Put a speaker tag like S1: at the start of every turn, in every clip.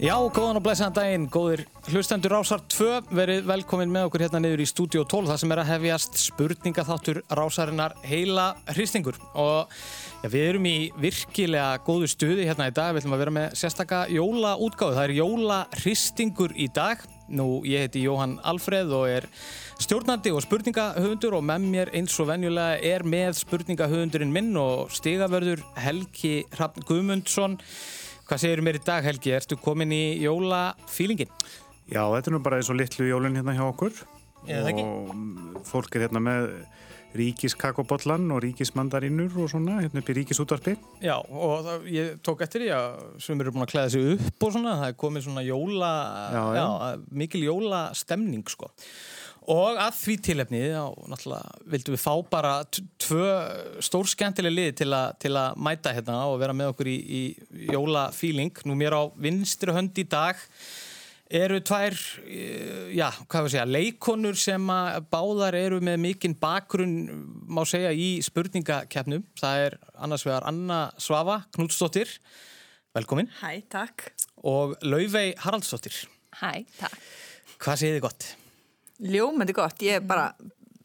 S1: Já, góðan og blæsaðan daginn, góðir hlustendur Rásar 2, verið velkomin með okkur hérna niður í Studio 12, það sem er að hefjast spurningaþáttur Rásarinnar heila hristingur og já, við erum í virkilega góðu stuði hérna í dag, við ætlum að vera með sérstaka jólaútgáðu, það er jólahristingur í dag, nú ég heiti Jóhann Alfreð og er stjórnandi og spurningahöfundur og með mér eins og venjulega er með spurningahöfundurinn minn og stigavörður Helgi Hrafn Guðmundsson Hvað segir mér í dag Helgi? Ertu komin í jólafílingin?
S2: Já, þetta er nú bara eins og litlu jólinn hérna hjá okkur
S1: Já, það ekki.
S2: og mm, fólk er hérna með ríkiskakobollan og ríkismandarínur og svona, hérna upp í ríkisútarpi
S1: Já, og það, ég tók eftir því að sem eru búin að klæða sig upp og svona, það er komið svona jóla,
S2: Já, já.
S1: mikil jólastemning sko. Og að því tilefni, já, náttúrulega, vildum við fá bara t- tvö stórskemmtileg liði til, a, til að mæta hérna og vera með okkur í, í jólafíling. Nú mér á vinstri hönd í dag eru tvær, eh, já, hvað við segja, leikonur sem að báðar eru með mikinn bakgrunn, má segja, í spurningakeppnum. Það er annars vegar Anna Svava Knútsdóttir, velkomin,
S3: Hæ, takk.
S1: og Laufey Haraldsdóttir.
S4: Hæ, takk.
S1: Hvað segið þið gott?
S3: Ljómandi gott, ég er bara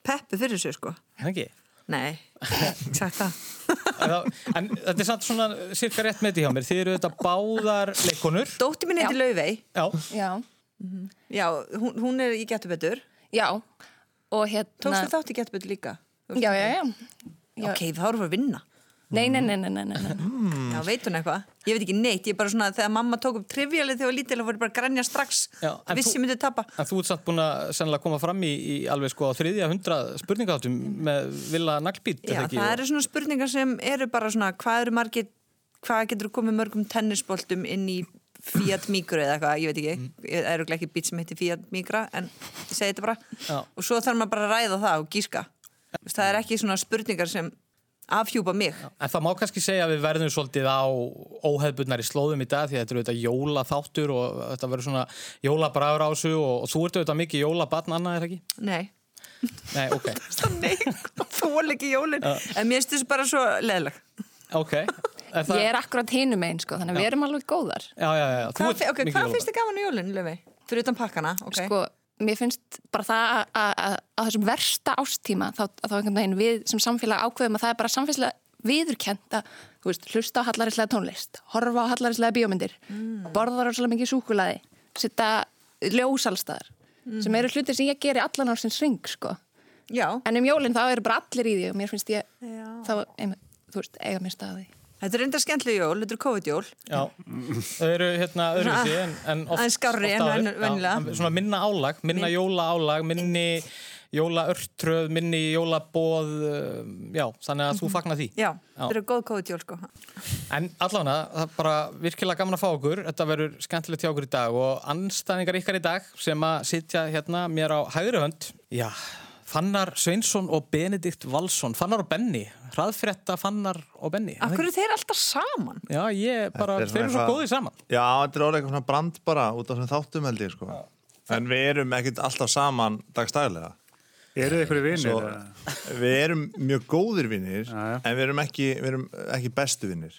S3: peppu fyrir þessu sko.
S1: Hérna ekki?
S3: Nei, sagt það.
S1: En, þá, en þetta er samt svona cirka rétt með því hjá mér. Þið eru þetta báðar leikonur.
S3: Dóttir minn heiti
S4: Já.
S3: Laufey,
S1: Já,
S4: Já,
S3: já, hún, hún er í Getubetur.
S4: já, og hérna...
S3: Tókstu þátt í Getubetur líka?
S4: Já, já, já. já.
S3: Ok, Mm. þá erum við að vinna.
S4: Nei, nei, nei, nei, nei, nei. nei.
S1: Mm.
S3: Já, veit hún eitthvað? Ég veit ekki neitt, ég er bara svona, þegar mamma tók upp trivialið þegar ég var lítil, þá voru ég bara að grænja strax,
S1: Já, en
S3: vissi
S1: þú-
S3: myndi tappa.
S1: en þú ert samt búin að sennilega koma fram í, í alveg sko á þriðja hundra spurningáttum með vilja naglbít.
S3: Já, það eru svona spurningar sem eru bara svona, hvað eru margir, hvað getur komið mörgum tennisboltum inn í Fiat Micro eða eitthvað, ég veit
S1: Mm.
S3: ekki, það eru ekki bít sem heitir Fiat Micro, en ég segi þetta bara.
S1: Já.
S3: Og svo þarf maður bara að ræða það og gíska. Þú veist, Það er ekki svona spurningar sem afhjúpa mig.
S1: En það má kannski segja að við verðum svolítið á óhefbunari slóðum í dag því að þetta eru auðvitað jólaþáttur og þetta verður svona jólabragur á þessu og, og þú ert auðvitað mikið jólabarn annað, er það ekki?
S3: Nei.
S1: Nei, ok.
S3: Nei, þú er ekki jólinn. En mér finnst þessu bara svo leðileg.
S1: Ok. Er það-
S4: Ég er akkurat hinum einn, sko, þannig að við erum alveg góðar.
S1: Já, já, já. já. Þú
S3: Hvað,
S1: ert
S3: fi-
S1: mikið
S3: ok, hvað
S1: jólabarn.
S3: finnst þið gaman í jólinn, Löfi? Fyrir utan pakkana, ok.
S4: Sko, mér finnst bara það að- að að- á þessum versta ástíma, þá, að þá einhvern veginn við sem samfélag ákveðum að það er bara samfélagslega viðurkent að, þú veist, hlusta á hallarislega tónlist, horfa á hallarislega bíómyndir,
S3: Mm.
S4: borða rosalega mikið súkulaði, setja ljósalstaðar, sem
S3: Mm.
S4: eru hlutir sem ég geri allan ársins ring, sko.
S3: Já.
S4: En um jólinn þá eru bara allir í því og mér finnst ég,
S3: Já.
S4: þá, einmitt, þú veist, eiga mér staði.
S3: Þetta er enda skemmtli jól, þetta er COVID-jól.
S1: Já, þau eru hérna öðruvísi en, en oft,
S3: Aðeins skárri en
S1: oft áður.
S3: venju- venjulega.
S1: Já, en Svona minna álag, minna jóla álag, minni jóla örtröð, minni jólabóð, já, þannig að þú fagnar því.
S3: Mhm. Já, þetta er góð COVID-jól, sko.
S1: En allavega, það er bara virkilega gaman að fá okkur. Þetta verður skemmtilegt hjá okkur í dag og anstæðingar ykkar í dag sem að sitja hérna mér á hægri hönd. Já, Fannar Sveinsson og Benedikt Valsson. Fannar og Benni. Hraðfretta Fannar og Benni.
S3: Akkur eru þeir alltaf saman?
S1: Já, ég bara,
S5: Þetta er
S1: þeir eru
S5: svona
S1: svo
S5: eitthvað-
S1: góðið saman.
S5: Já, þetta er orðið eitthvað svona brand bara út af svona þáttum held ég sko. En við erum ekkert alltaf saman dagstæðilega.
S2: Eru þið einhverju vinir?
S5: Svo,
S2: eða?
S5: við erum mjög góðir vinnir,
S2: Já, já.
S5: en við erum ekki, við erum ekki bestu vinnir.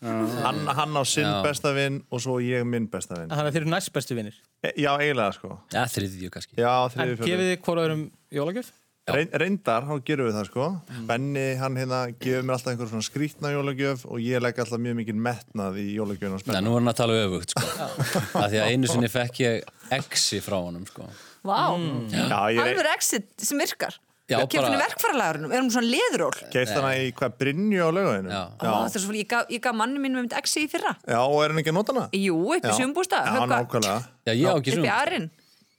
S5: Hann, hann á sinn besta vinn og svo ég minn besta vinn.
S1: Þannig að þeir eru næst bestu vinnir.
S5: E, já, eiginlega sko.
S6: Já, þriðju kannski.
S5: Já,
S1: En
S5: þriði
S1: gefið
S5: fjóri.
S1: þið hvora öðrum jólagjöf?
S5: Reyn, reyndar, þá gerum við það sko.
S1: Mm.
S5: Benni, hann hérna, gefur mér alltaf einhver svona skrítna jólagjöf og ég legg alltaf mjög mikið metnað í jólagjöfuna
S6: Nei,
S5: spenna.
S6: nú var hann að tala öfugt, sko. Það því að einu sinni fekk ég exi frá honum, sko.
S3: Vá,
S5: Já, ég
S3: alveg exit sem virkar.
S6: Já,
S3: Kemur
S6: bara-
S3: henni verkfæralagurinnum, er hún svona leðról?
S5: keist hana í hvað Brynju á lauginu.
S6: Já.
S3: Já. Ó, það er svo, ég, gaf, ég gaf manni mínum einmitt exi í fyrra.
S5: Já, og er hann ekki að nota hana?
S3: Jú, upp í
S5: Já.
S3: sumbústa.
S5: Já, nákvæmlega.
S6: Já, ég á ekki
S3: Upp í
S6: svona.
S3: arinn.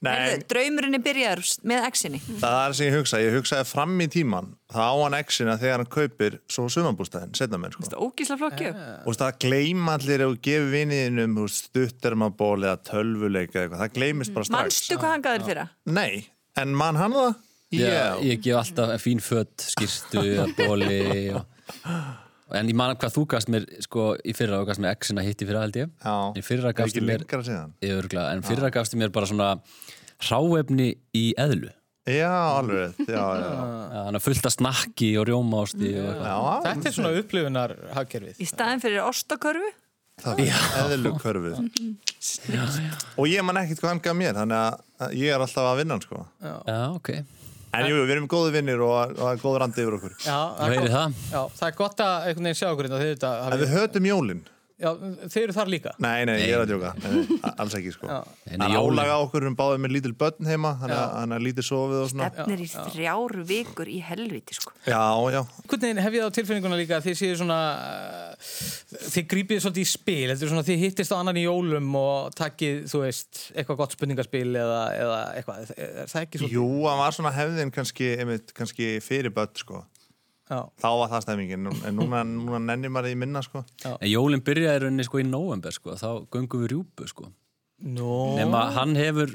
S5: Nei.
S3: Heyrðu, Draumurinn er byrjaður s- með exinni.
S5: Það er það sem ég hugsa, ég hugsaði fram í tíman það á hann exina þegar hann kaupir svo sumabústæðin, setna mér sko
S3: Það er ógísla flokki.
S6: Eh,
S5: og það gleyma allir ef þú gefur viniðinum stuttermaból eða tölvuleik eða eitthvað, það gleymist bara strax
S3: Manstu hvað hann gaf þér fyrra?
S5: Nei, en mann hann það?
S6: Já,
S5: Já,
S6: ég gef alltaf fín fött, skýrstu, bóli og... En ég man hvað þú gafst mér, sko, í fyrra og gafst mér exina hitt í fyrra, held ég.
S5: Já.
S6: En fyrra
S5: Er
S6: gafst
S5: ekki
S6: mér...
S5: lengra síðan?
S6: Ég örgla, en fyrra Já. gafst mér bara svona hráefni í eðlu.
S5: já alveg rétt, já, já, já.
S6: Já, Þannig að fullt að snakki og rjómásti og eitthvað.
S5: já.
S1: Þetta er svona upplifunar hafkerfið.
S3: Í staðin fyrir ostakörfu?
S5: það var eðlu körfið og ég man ekkert hvað hann gaf mér þannig að- að ég er alltaf að vinna hann sko
S6: Já, ok.
S5: en jú, við erum góði vinnir og, og það er góð randi yfir okkur
S1: Já, það
S6: Þú
S1: er
S6: heyrir
S1: gott-
S6: það.
S1: Já, það er gott að einhvern veginn sjá okkur hérna þið, þetta,
S5: en
S1: hafið-
S5: við hötum jólin
S1: já, þið eru þar líka
S5: nei, nei, ég er að djóka, Nei, nei, a- alls ekki sko
S6: En
S5: það er
S6: jólin-
S5: álaga á okkur, við erum báðið með lítil börn heima þannig að-
S1: Já.
S5: þannig að lítið sofið og svona
S7: Stefnir í þrjár vikur í helviti sko.
S5: já, já,
S1: Hvernig veginn hef ég það á tilfinninguna líka að þið séu svona uh, þið grípið svolítið í spil þetta er svona þið hittist á annan í jólum og takkið, þú veist, eitthvað gott spurningaspil eða, eða eitthvað, er, er það ekki svona?
S5: jú, hann var svona hefðin kannski, einmitt, kannski fyrir börn sko
S1: Já,
S5: þá var það stemmingin, nú- en núna, núna nennir maður því minna sko
S6: En jólinn byrjaði í rauninni sko í november sko, þá göngum við rjúpu sko.
S1: nú
S6: Nefna hann hefur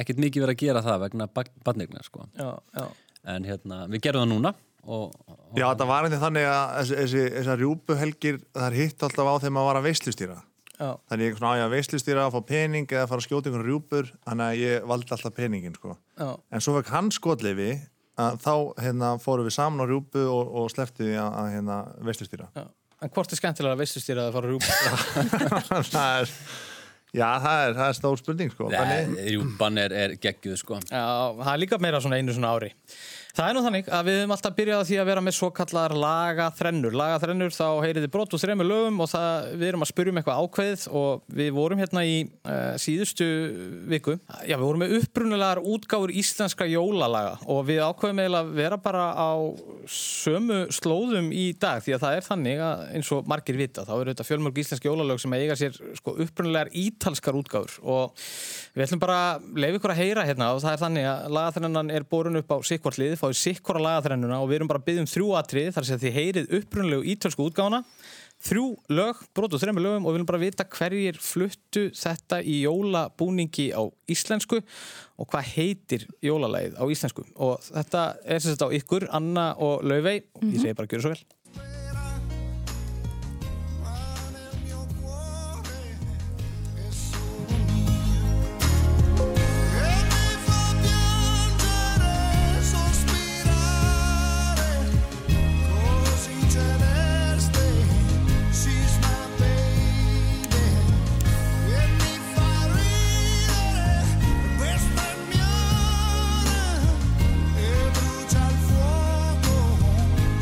S6: ekkert mikið verið að gera það vegna badningna sko.
S1: Já, já,
S6: En hérna, við gerum það núna og, og
S5: Já, þetta var einnig þannig að þessi, þessi, þessar rjúpuhelgir, það er hitt alltaf á þegar maður var að veislustýra.
S1: já,
S5: Þannig ég svona á ég að veislustýra, að fá pening eða fara að skjóta einhvern rjúpur, þannig að ég valdi alltaf peningin, sko.
S1: já,
S5: En svo fekk hann skotleifi að þá hérna, fórum við saman á rjúpu og, og sleppti því að, að hérna, veislustýra.
S1: já En hvort er skemmtilega að veistustýra að fara að rjúpa?
S5: það er, já, það er, það er stór spurning, sko. Þannig,
S6: Nei, rjúpan er, er geggjuð sko.
S1: Já, það er líka meira svona einu svona ári. Það er nú þannig að við höfum alltaf byrjað á því að vera með svo kallar lagaþrennur. Lagaþrennur, þá heyrið þið brot úr þremur lögum og það, við erum að spyrjum eitthvað ákveðið og við vorum hérna í uh, síðustu viku. Já, við vorum með upprunulegar útgáfur íslenska jólalaga og við ákveðum eiginlega að vera bara á sömu slóðum í dag því að það er þannig að eins og margir vita, þá eru þetta fjölmörg íslenska jólalög sem eiga sér sko, upprunulegar ítalskar útgáfur og við ætlum bara að leifa ykkur að heyra hérna og það er þannig að lagaþrennan er borun upp á sikkvart lið, fáið sikkvara lagaþrennuna og við erum bara að byggjum þrjú atrið þar sem þið heyrið upprunlegu ítölsku útgáfuna þrjú lög, brot úr þremur lögum og við viljum bara vita hverjir fluttu þetta í jólabúningi á íslensku og hvað heitir jólalagið á íslensku og þetta er sem sagt á ykkur, Anna og Laufey og ég segi bara að gjöra svo vel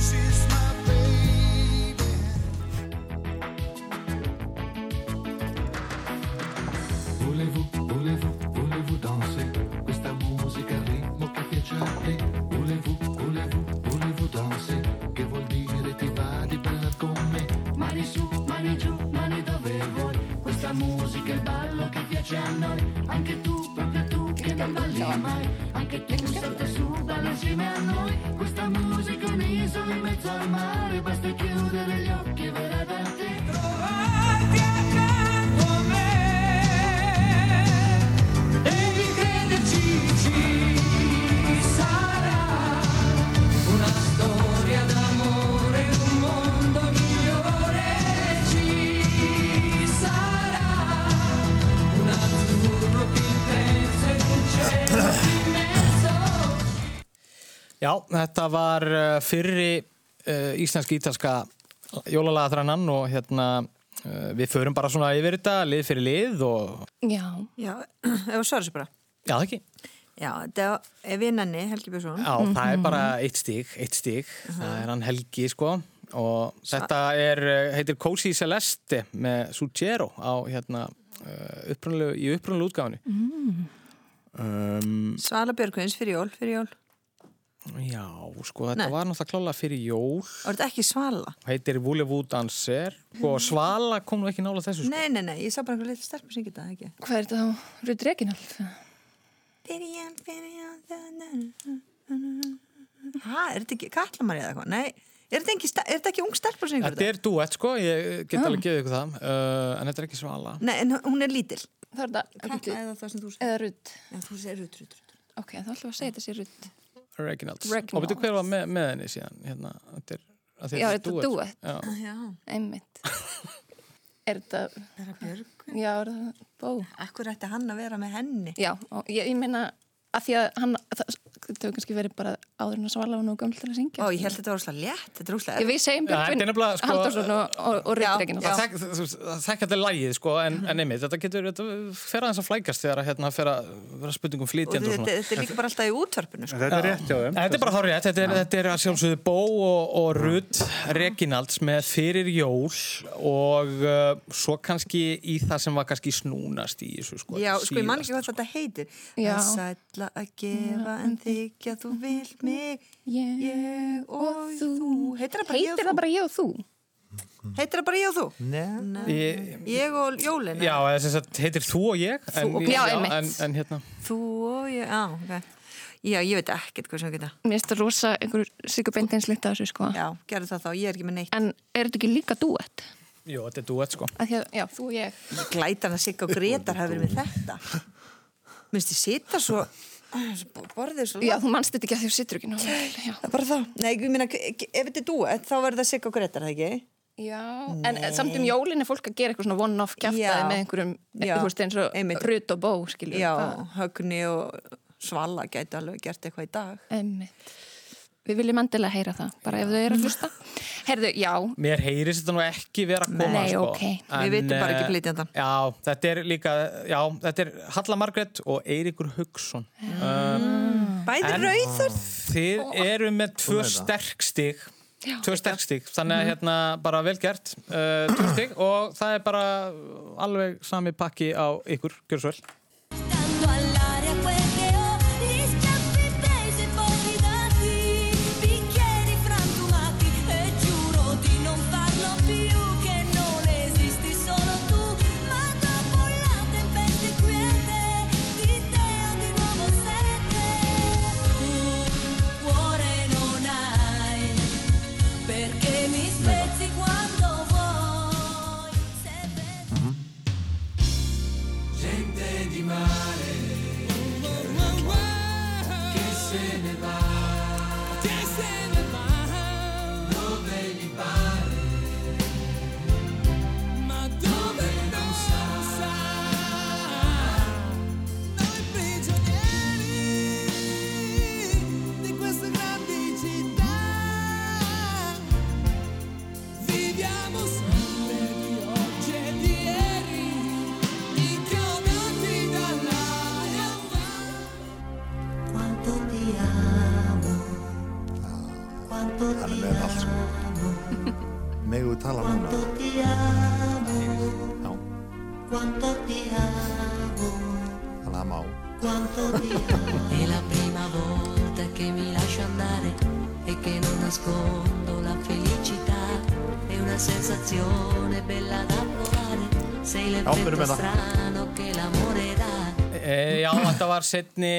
S8: She's my baby.
S9: Volevo, volevo, volevo danser Questa musica al ritmo che piace a te Volevo, volevo, volevo danser Che vuol dire ti va di ballare con me Mani su, mani giù, mani dove vuoi Questa musica è il ballo che piace a noi Anche tu, proprio tu che non balli mai Anche tu salta su, balla insieme a noi Questa musica è un'isola in mezzo al mare Basta chiudere gli occhi, verrà da te
S8: Trovati accanto a me, devi crederci, ci sarà una storia d'amore, un mondo migliore, ci sarà un azzurro più intenso e un cielo più immenso.
S1: Já, þetta var uh, fyrri uh, íslensk-ítalska jólalagaþrannan og hérna uh, við förum bara svona yfir þetta lið fyrir lið og
S4: Já,
S3: Já, ef að svara sér bara
S1: já, það ekki.
S3: Já, þetta var- ef við nenni, Helgi Björnsson
S1: Já, það er bara eitt stík, eitt stík. Það er hann Helgi, sko. Og þetta er, uh, heitir Cozy Celeste með Suggero á hérna uh, upprunalegu, í upprunalegu útgáfinu. Um,
S3: Svala Björkvins fyrir jól, fyrir jól
S1: já, sko, þetta
S3: Nei.
S1: var náttúrulega klála fyrir jól.
S3: Og þetta ekki Svala
S1: Heitir Voulevou Danser og Svala kom nú ekki nála þessu, sko.
S3: Nei, nei, nei, ég sá bara einhver litur stelpur sem geta það ekki
S4: hvað er þetta þá? Rutt Reginald?
S3: Byrjan, byrjan, da- da- da- Ha, er þetta ekki kallamari eða eitthvað? Nei, er þetta ekki, er þetta ekki ung stelpur sem geta
S1: Þetta er duett sko, ég get alveg gefið ykkur það uh, en þetta er ekki svala
S3: Nei, en hún er lítil
S4: Það er þetta
S3: Kalla
S4: Rutt
S3: eða það sem þú segir
S4: eða Rutt.
S3: Já, þú segir rutt, rutt, rutt
S4: Ok, þá ætlum við að segja þetta sé Rutt.
S1: Reginalds,
S4: Reginalds.
S1: og betur hver var með, með henni síðan hérna, þetta er, að því
S4: Já,
S1: er
S4: þetta er
S1: duett.
S4: duett.
S1: Já.
S3: Ah, Já,
S4: Einmitt. Er þetta,
S3: það er Björk
S4: já, er þetta bó?
S3: Akkur ætti hann að vera með henni
S4: Já, og ég, ég meina að því að hann, það, það hefur kannski verið bara áður en að svala var nú gömul til að
S3: Ó,
S4: syngja
S3: ég held þetta var óslega létt, þetta er óslega
S4: Ég, við segjum
S1: Já, þetta er
S4: Björgvin
S1: nefnilega, sko-
S4: Halldórsson og, og, og Ritregin
S1: Það þekk- þú veist, það þekkja þetta lægið sko, en, en einmitt, þetta getur þetta fer aðeins að flækast þegar að hérna, fer að vera spurningum
S3: Og
S1: flýtjandi og
S3: þetta,
S1: svona.
S3: þetta er líka bara alltaf í útvarpinu sko.
S2: Þetta er rétt hjá þeim.
S1: En þetta er bara hárið, þetta er, þetta er að sjálfsögðu Bó og, og Rutt Reginalds með Fyrir Jól og uh, svo kannski í það sem var kannski snúnast í þessu sko.
S3: Já, sko, ég man ekki
S1: síðast.
S3: hvað þetta heitir
S4: Já.
S3: Það sætla að gefa en þykja þú vilt mig Ég og þú Heitir það bara ég og
S4: Heitir
S3: þú?
S4: það bara ég og þú?
S3: Heitir það bara ég og þú?
S5: Nei.
S1: Ég,
S3: Ég og jólin
S1: já, eða sem sagt, heitir Þú og ég en,
S4: og- Já, einmitt.
S1: en, en hérna
S3: Þú og ég, já, ok Já, ég veit ekkert hvað sem geta
S4: Mér finnst það rosa einhver sigurbeindins lítið af þessu sko
S3: Já, gerðu það þá, ég er ekki með neitt
S4: En er þetta ekki líka duett?
S1: Jó, þetta er duett sko.
S4: Að því að, já, þú og ég
S3: Glætan að Sigga og Gretar hafi verið með þetta Minnst ég sita svo Borðið svo
S4: Já, þú mannst þetta ekki að því þú situr ekki nú vel, Já,
S3: Það er Bara þá, nei, ég meina, ef þetta er duett þá verður það Sigga og Gretar, það ekki?
S4: já. en samt um jólin er fólk að gera eitthvað svona one-off kjaftaði
S3: Já.
S4: með einhverjum
S3: Já.
S4: Þú veist eins
S3: Einmitt.
S4: og rutt og bó, skilur
S3: Já,
S4: það.
S3: Högni og Svala gæti alveg gert eitthvað í dag
S4: Einmitt. Við viljum endilega heyra það, bara ef þau eru að hlusta Herðu, já,
S1: Mér heyrist þetta nú ekki vera að koma
S4: Nei,
S1: sko.
S4: ok.
S3: Við vitum bara ekki flytjandann.
S1: eh, Já, þetta er líka já, þetta er Halla Margrét og Eiríkur Hugson Mm.
S3: Bæði
S1: En-
S3: rauður
S1: Þið eru með tvö sterkstig tvö sterkstig, þannig
S4: Mhm.
S1: að hérna bara vel gert, uh, tvö stig og það er bara alveg sami pakki á ykkur, gjör svo vel
S8: Tanto al área hverfeo, rischiappi pesi pochi da qui, bicchieri frantumati e giuro di non farlo più, che non esisti solo tu, ma dopo la tempesta quiete, di te ho di nuovo sete, cuore non hai, perché mi spezzi quando vuoi, se vedi Viviamo sempre di oggi e di ieri, inchiodati dall'aria Quanto ti amo, quanto
S5: Hann
S8: ti
S5: er með allt sko. Megum við tala núna?
S8: quanto ti amo,
S5: Já, þannig
S8: ah, quanto ti amo,
S5: að má.
S8: quanto ti amo. È la prima volta che mi lascio andare e che non nascondo la felicità. È una sensazione bella da provare. Sei l'effetto
S5: fermela.
S8: strano che l'amore dà.
S1: e, Já, þetta var setni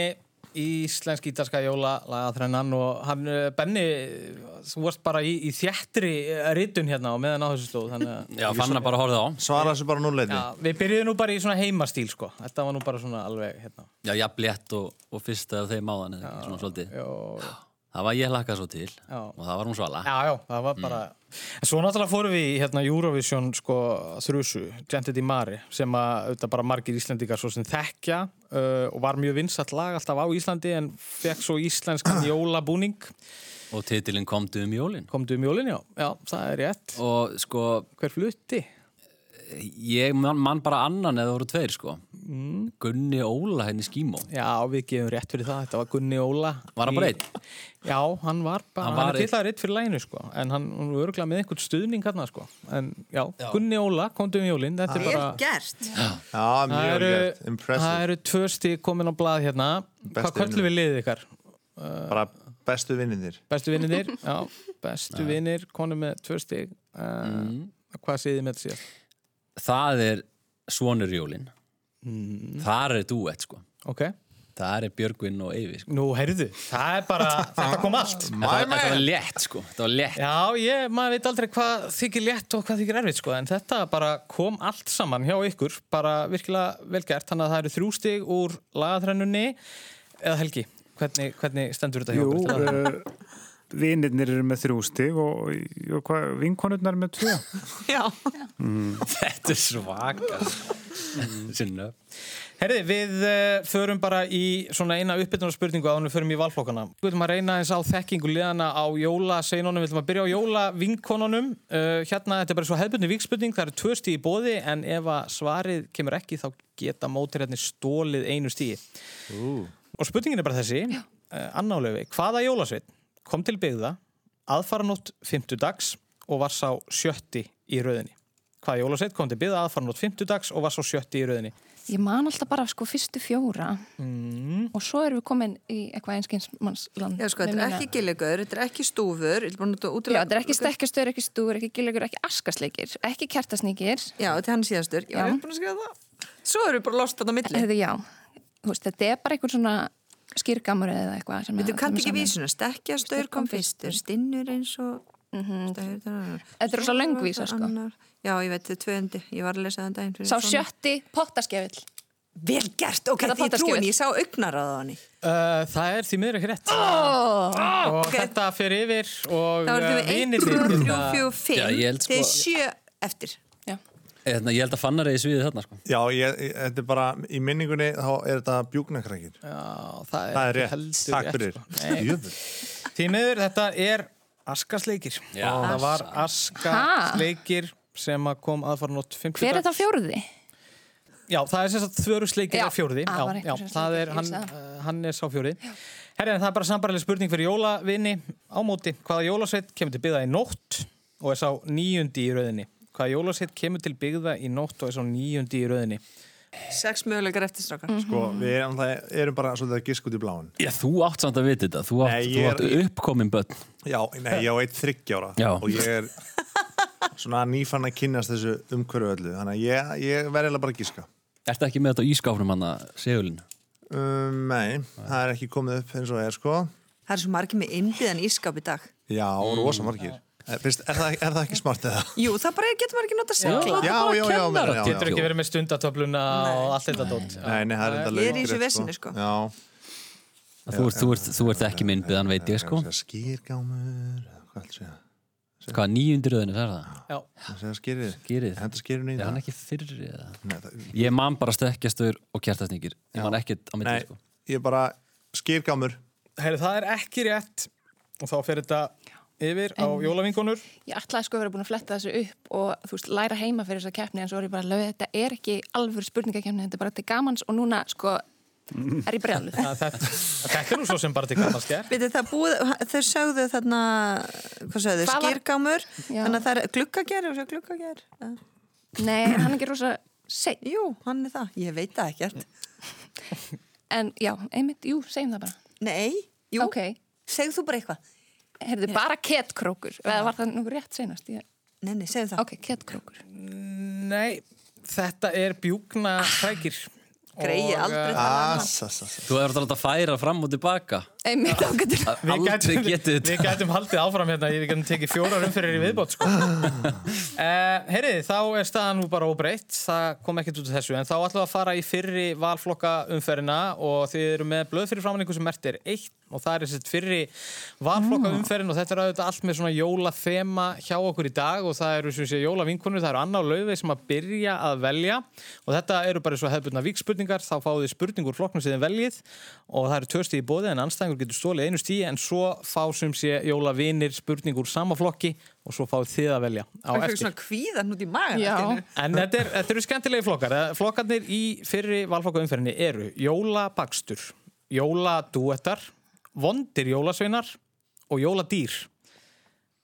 S1: íslensk ítalska jóla lagaþrennan og hann, eh, Benni þú varst bara í, í þjættri ritun hérna og meðan á þessu slóð þannig að
S6: Já, fann hann bara að horfa á
S5: Svara þessu bara núleiti.
S1: Já, við byrjuðum nú bara í svona heimastíl sko. Þetta var nú bara svona alveg hérna.
S6: Já, jafn létt og, og fyrsta af þeim áðan eða ekki, svona svolítið
S1: Jó, já,
S6: Það var ég hlakka svo til og það var hún svala
S1: já, það var bara En svo náttúrulega fórum við í hérna, Eurovision sko, þrjusu, Gented í Mari sem að auðvitað bara margir Íslendingar svo sem þekkja uh, og var mjög vinsat lag alltaf á Íslandi en fekk svo íslenskan jólabúning
S6: og titilin komdu um jólin
S1: komdu um jólin, já, já, það er rétt
S6: og sko,
S1: Hver flutti?
S6: ég man, man bara annan eða voru tveir sko Gunni Óla henni skímó
S1: Já, við gefum rétt fyrir það, þetta var Gunni Óla
S6: Var hann bara
S1: í-
S6: einn?
S1: Já, hann var bara, hann,
S6: Hann var
S1: er
S6: einn.
S1: tillaður eitt fyrir læginu sko en hann hann var örgulega með einhvern stuðning hérna sko en já, Gunni Óla, komdu um jólin þetta er
S3: Vel
S1: bara
S3: gert
S5: Já,
S1: Það
S5: mjög
S1: eru,
S5: vel gert.
S1: það
S5: Impressive.
S1: eru tvö stík komin á blað hérna Hvað
S5: Bestu
S1: köllum við liðið ykkar?
S5: Bara bestu vinninir.
S1: Bestu vinninir? Já, bestu vinnir konum með tvö stík uh, Hvað séð þið með þetta síðast?
S6: Það er svonur jólin Þar er duett sko
S1: Ok,
S6: Það er Björgvin og Eyvi sko.
S1: nú heyrðu Það er bara, þetta kom allt
S6: þetta, var- þetta var létt sko Þetta var létt
S1: Já, ég, maður veit aldrei hvað þykir létt og hvað þykir erfitt sko, en þetta bara kom allt saman hjá ykkur, bara virkilega vel gert, þannig að það eru þrjú stig úr lagaþrennunni, eða Helgi, hvernig, hvernig stendur þetta hjá
S2: Jú,
S1: ykkur?
S2: uh, vinirnir eru með þrjú stig og, og hvað, vinkonurnar með tvö.
S3: Já,
S6: Þetta er svaka sinna
S1: Herði, við uh, förum bara í svona eina uppbytunarspurningu að við förum í valflokkana. Við viljum að reyna eins á þekkingu liðana á jólaseinunum, við viljum að byrja á jólavinkonunum. Uh, hérna, þetta er bara svo hefðbundin vikspurning, það eru tvö stíð í bóði en ef að svarið kemur ekki þá geta mótirjarnir stólið einu stíði. Og spurningin er bara þessi, uh, Anna Ólöfi, hvaða jólasveinn kom til byggða aðfaranótt 50 dags og var sá sjötti í rauðinni? Hvaða jólasveinn kom til byggða aðfaranótt 50 dags og var sá sjötti í rauðinni?
S4: Ég man alltaf bara sko fyrstu fjóra og svo erum við komin í eitthvað einskeinsmannsland.
S3: Já, sko, þetta
S4: með
S3: er
S4: mína-
S3: ekki gillegöður, þetta er ekki stúfur, ég er búin að
S4: Já,
S3: útilega...
S4: þetta er ekki stekkastur, ekki stúr, ekki gilugur, ekki askasleikir, ekki kertasnýkir.
S3: Já, þetta er hann síðastur. Já,
S4: Já.
S3: ég er búin að skrifa það. Svo erum við bara lost þarna á milli.
S4: Þetta, já, þú veist, þetta er bara einhvern svona skýrgamur eða eitthvað. sem að
S3: Þetta kannt
S4: kemur
S3: ekki
S4: saman.
S3: vísuna, stekkja staur kom fyrstur, stinnur eins og... Staur, það
S4: Þetta er rosa löng vísa, sko.
S3: Annar. Já, ég veit, þetta er tvöndi, ég var að lesa þann daginn. fyrir
S4: Sá
S3: svona.
S4: sjötti pottaskefil.
S3: Vel gert, ok,
S4: Þetta
S3: því ég
S4: þáttarskifið.
S3: trúin, ég sá augnar á það hann.
S1: Uh, það er því miður ekki rétt og þetta fer yfir og
S3: Það voru
S1: uh,
S3: þau
S1: vinirnir
S3: 1, 2, 3,
S1: geta-
S3: 4,
S6: Já,
S3: 5,
S6: ég held, sko-
S3: þeir sjö eftir.
S4: Já.
S6: Eðna, Hérna, ég held að fannar eigi sviðið þarna sko.
S5: Já, ég, ég, þetta er bara, í minningunni þá er þetta bjúknakrækir.
S1: Já, það er,
S5: Það er
S1: ekki
S5: rétt,
S1: heldur
S5: takk
S1: rétt,
S5: fyrir.
S1: sko. Nei.
S5: Jöfull.
S1: því miður þetta er askasleikir
S6: Já.
S1: það var askasleikir sem að kom aðfara nótt 50
S4: Hver er
S1: dags.
S4: það fjóruði?
S1: Já, það er sem sagt þvörusleikir
S4: Já,
S1: af fjórði
S4: það
S1: Já,
S4: var einhver
S1: já,
S4: sem
S1: það
S4: sleikir,
S1: er,
S4: ég
S1: hann,
S4: vissi
S1: uh, hann er sá fjórði Herri, en það er bara sambarlega spurning fyrir jólavinni á móti, hvaða jólasveit kemur til byggða í nótt og er sá níundi í rauðinni hvaða jólasveit kemur til byggða í nótt og er sá níundi í rauðinni
S3: Sex mögulegar eftirstrákar.
S5: Sko, við erum, náttúrulega- erum bara svolítið að giska út í bláin.
S6: Já, þú átt samt að vita þetta þú átt,
S5: Nei,
S6: þú
S5: ég er-
S6: átt uppkomin börn
S5: Já, nei, ég á eitt þryggjára
S6: Já.
S5: og ég er svona nýfann að kynnast þessu umhverju öllu. Þannig að ég, ég verði eiginlega bara að giska.
S6: Ertu ekki með þetta á ískáfnum hann að segulin?
S5: Um, nei, það er ekki komið upp eins og er, sko.
S3: Það er svo margir með innbyðan ískap í dag.
S5: Já, rosa margir. Er, finnst, er, það, er það ekki smart eða?
S3: Jú, það bara getur maður ekki nota segla.
S5: Já, já, já, meina, já,
S1: Getur
S5: já.
S1: ekki verið með stundatöfluna og allt þetta dótt.
S5: Nei, nei, það er enda
S3: Ég er í
S5: löggrétt,
S3: þessu veseni, sko.
S5: Já,
S6: Þú ert, þú ert, þú ert ekki minn byðan veit ég sko
S5: Það er skýrgámur, hvað ætlum ég að segja?
S6: Hvað, níundi í rauðinni, það er það?
S1: Já.
S5: Það segja skýrið.
S6: Skýrið.
S5: Henda skýrinu í
S6: Er hann
S5: það.
S6: ekki fyrri eða?
S5: Nei, það-
S6: Ég man bara stekkjastur og kjartasningir Ég man ekkert á
S5: Nei,
S6: milli sko
S5: ég er bara skýrgámur.
S1: Herri, það er ekki rétt og þá fer þetta yfir á jólavingunur.
S4: Ég ætlaði sko að vera búin að fletta þessu upp og þú veist, læra heima fyrir þessa keppni en svo er ég bara að lögja þetta er ekki alvöru spurningakefni, þetta er bara til gamans og núna sko er ég brjáluð.
S1: Það- Þetta, þetta er nú svo sem bara til gaman sker.
S3: Við það búið, þau sögðu þarna, hvað sögðu,
S4: Hvað var-
S3: skýrgámur,
S4: Já.
S3: þannig að það er gluggager, er það gluggager? Eh,
S4: Nei, er hann er ekki rosa seitt.
S3: Jú, hann er það, ég veit það ekkert.
S4: En já, einmitt, jú, segjum það bara.
S3: Nei, jú,
S4: Ok,
S3: segðu þú bara eitthvað.
S4: heyrðu, bara kettkrókur, eða var það nú rétt senast? Ég...
S3: Nei, nei, segðu það.
S4: Ok, kettkrókur.
S1: Nei, þetta er bjúkna hrækir.
S3: Greiði Ah,
S1: eh,
S3: aldrei það.
S5: Ah,
S1: ah,
S5: Asasass.
S6: Þú hefur alltaf að færa fram og tilbaka
S4: Einmitt ákvæmdur.
S6: Aldrei getið
S1: Við
S6: þetta
S1: gætum haldið áfram hérna, við gætum tekið fjórar umferðir í viðbót, sko. Uh, heyriði, þá er staðan nú bara óbreytt, það kom ekkert út af þessu, en þá ætlum við að fara í fyrri valflokka umferðina og þið eru með blöð fyrir framann ykkur sem mert er eitt og það er þessi fyrri valflokka umferðin og þetta er auðvitað allt með svona jólathema hjá okkur í dag og það eru sem sé jólavinkunir, það eru annar laufið sem að byrja að velja og þetta eru bara svo hefðbundna vikspurningar, þá fáið þið spurningur flokknum sem þið veljið og það eru tvö stíð í bóði en anstæðingur getur stólið einu stíð en svo fá sem sé jólavinir spurningur sama flokki og svo fáið þið að velja á
S3: Það er
S1: eftir.
S3: svona kvíðan út í magan.
S4: Já.
S3: allt í einu.
S1: En þetta, er, þetta eru skemmtilegi flokkar. Eh, Flokkarnir í fyrri valflokkaumferðinni eru jólabakstur, jóladúettar, vondir jólasveinar og jóladýr.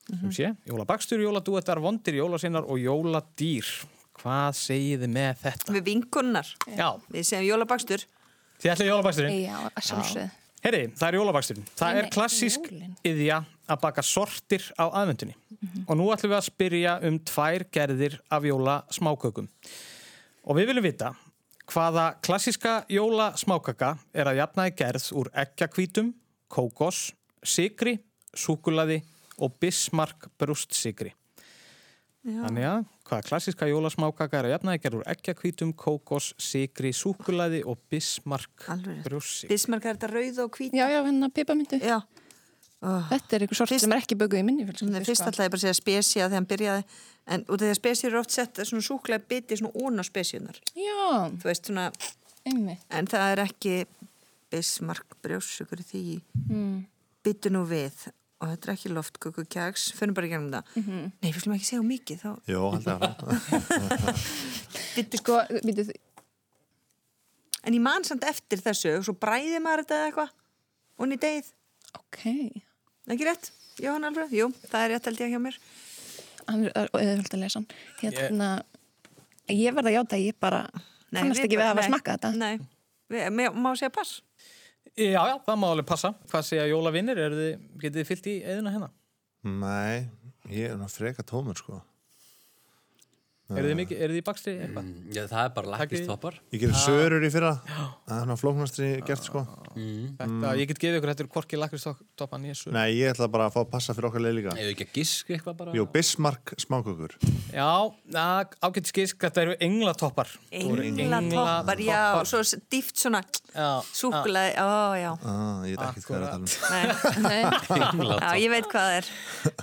S1: Sem sé, jólabakstur, jóladúettar, vondir jólasveinar og jóladýr. Hvað segið þið með þetta?
S3: Við vinkunnar,
S1: Já,
S3: við segjum jólabakstur.
S1: þið ætlaði jólabaksturinn.
S4: Já, að sjálfsögðu.
S1: Herri, það er jólabaksturinn. Það
S4: Nei,
S1: er
S4: nei,
S1: klassísk
S4: jólin. Mhm.
S1: yðja að baka sortir á aðvendunni. Og nú ætlum við að spyrja um tvær gerðir af jólasmákökum. Og við viljum vita hvaða klassíska jólasmákaka er að jafnaði gerð úr ekkjakvítum, kókos, sigri, súkulaði og bismark brústsigri. Þannig að hvaða klassíska jólasmákaka er að jafnaði gerð úr ekkjakvítum, kókos, sigri, súkulaði og bismark
S3: Alveg rétt.
S1: brústsigri.
S3: Bismarck er þetta rauð og hvít.
S4: Já, já, hennar pipamyndu.
S3: Já.
S4: hérna, Þetta er einhver sort
S3: Fyrst-
S4: sem er ekki böguð í minni fjölskyldu,
S3: Nei, fyrst
S4: sko.
S3: alltaf ég bara að segja spesía þegar hann byrjaði en út af því að spesíur eru oft sett svona súklega biti svona ón á spesíunar
S4: Já,
S3: þú veist svona,
S4: einmitt
S3: en það er ekki bismark brjósugur í því mm. byttu nú við og þetta er ekki loftköku kjags fyrir bara í gangum það
S4: Mhm.
S3: nei, við slum ekki segja of mikið þá
S5: Jó, held að
S3: byttu
S4: Sko, myndið,
S3: en ég man samt eftir þessu og svo bræði maður þetta eða eitthvað og í degið,
S4: ok
S3: ekki rétt? Jóhann Alfred? Jú, það er rétt held ég hjá mér
S4: Hann er auðvöld að lesa hann Hérna, ég verð að játa að ég bara kannast
S3: við
S4: ekki við
S3: bara-
S4: að hafa
S3: nei,
S4: smakkað þetta
S3: Nei, við, má- má segja pass?
S1: Já, já, það má alveg passa. Hvað segja jólavinnir? Eruð þið, getið þið fyllt í eðina hérna?
S5: Nei, ég er nú freka tómur sko
S1: Eruð þið mikið, eruð þið í bakstri eitthvað?
S6: Já, það er bara lakkistoppar
S5: Ég gerir sörur í fyrra Það er nú flóknastri gert sko
S6: Ah.
S1: Þetta, ég get gefið ykkur þetta er hvorki lakristoppan í þessu.
S5: Nei, ég ætla bara að fá að passa fyrir okkar leið líka
S6: Eða ekki að gisk eitthvað bara
S5: Jú, Bismarck smákökur
S1: Já, ágætt skísk, þetta eru englatoppar. Þetta voru
S3: Englatoppar, já, og svo s- dýft svona
S1: Já,
S3: súklaði, ó já,
S5: ah, Ég veit ekki hvað er að tala
S3: nei,
S5: um
S4: Nei,
S3: já, ég veit hvað það er.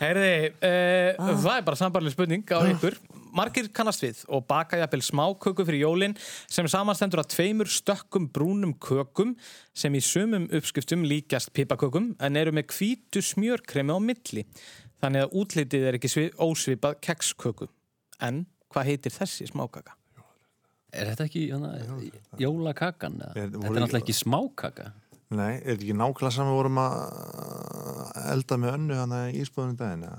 S1: Herði, uh, Ah. það er bara sambarleg spurning á ykkur. Margir kannast við og baka jafnvel smáköku fyrir jólin sem samanstendur að tveimur stökkum brúnum kökum sem í sumum uppskiptum líkjast pipakökum en eru með hvítu smjörkremi á milli. Þannig að útlitið er ekki svi, ósvipað keksköku. En hvað heitir þessi smákaka?
S6: Er þetta ekki hana, jólakakan? eða?
S5: Er-
S6: Þetta
S5: voru-
S6: er náttúrulega ekki smákaka
S5: Nei, er þetta ekki nákvæmlega saman við vorum að elda með önnu hann í ísbúðunum daginn eða?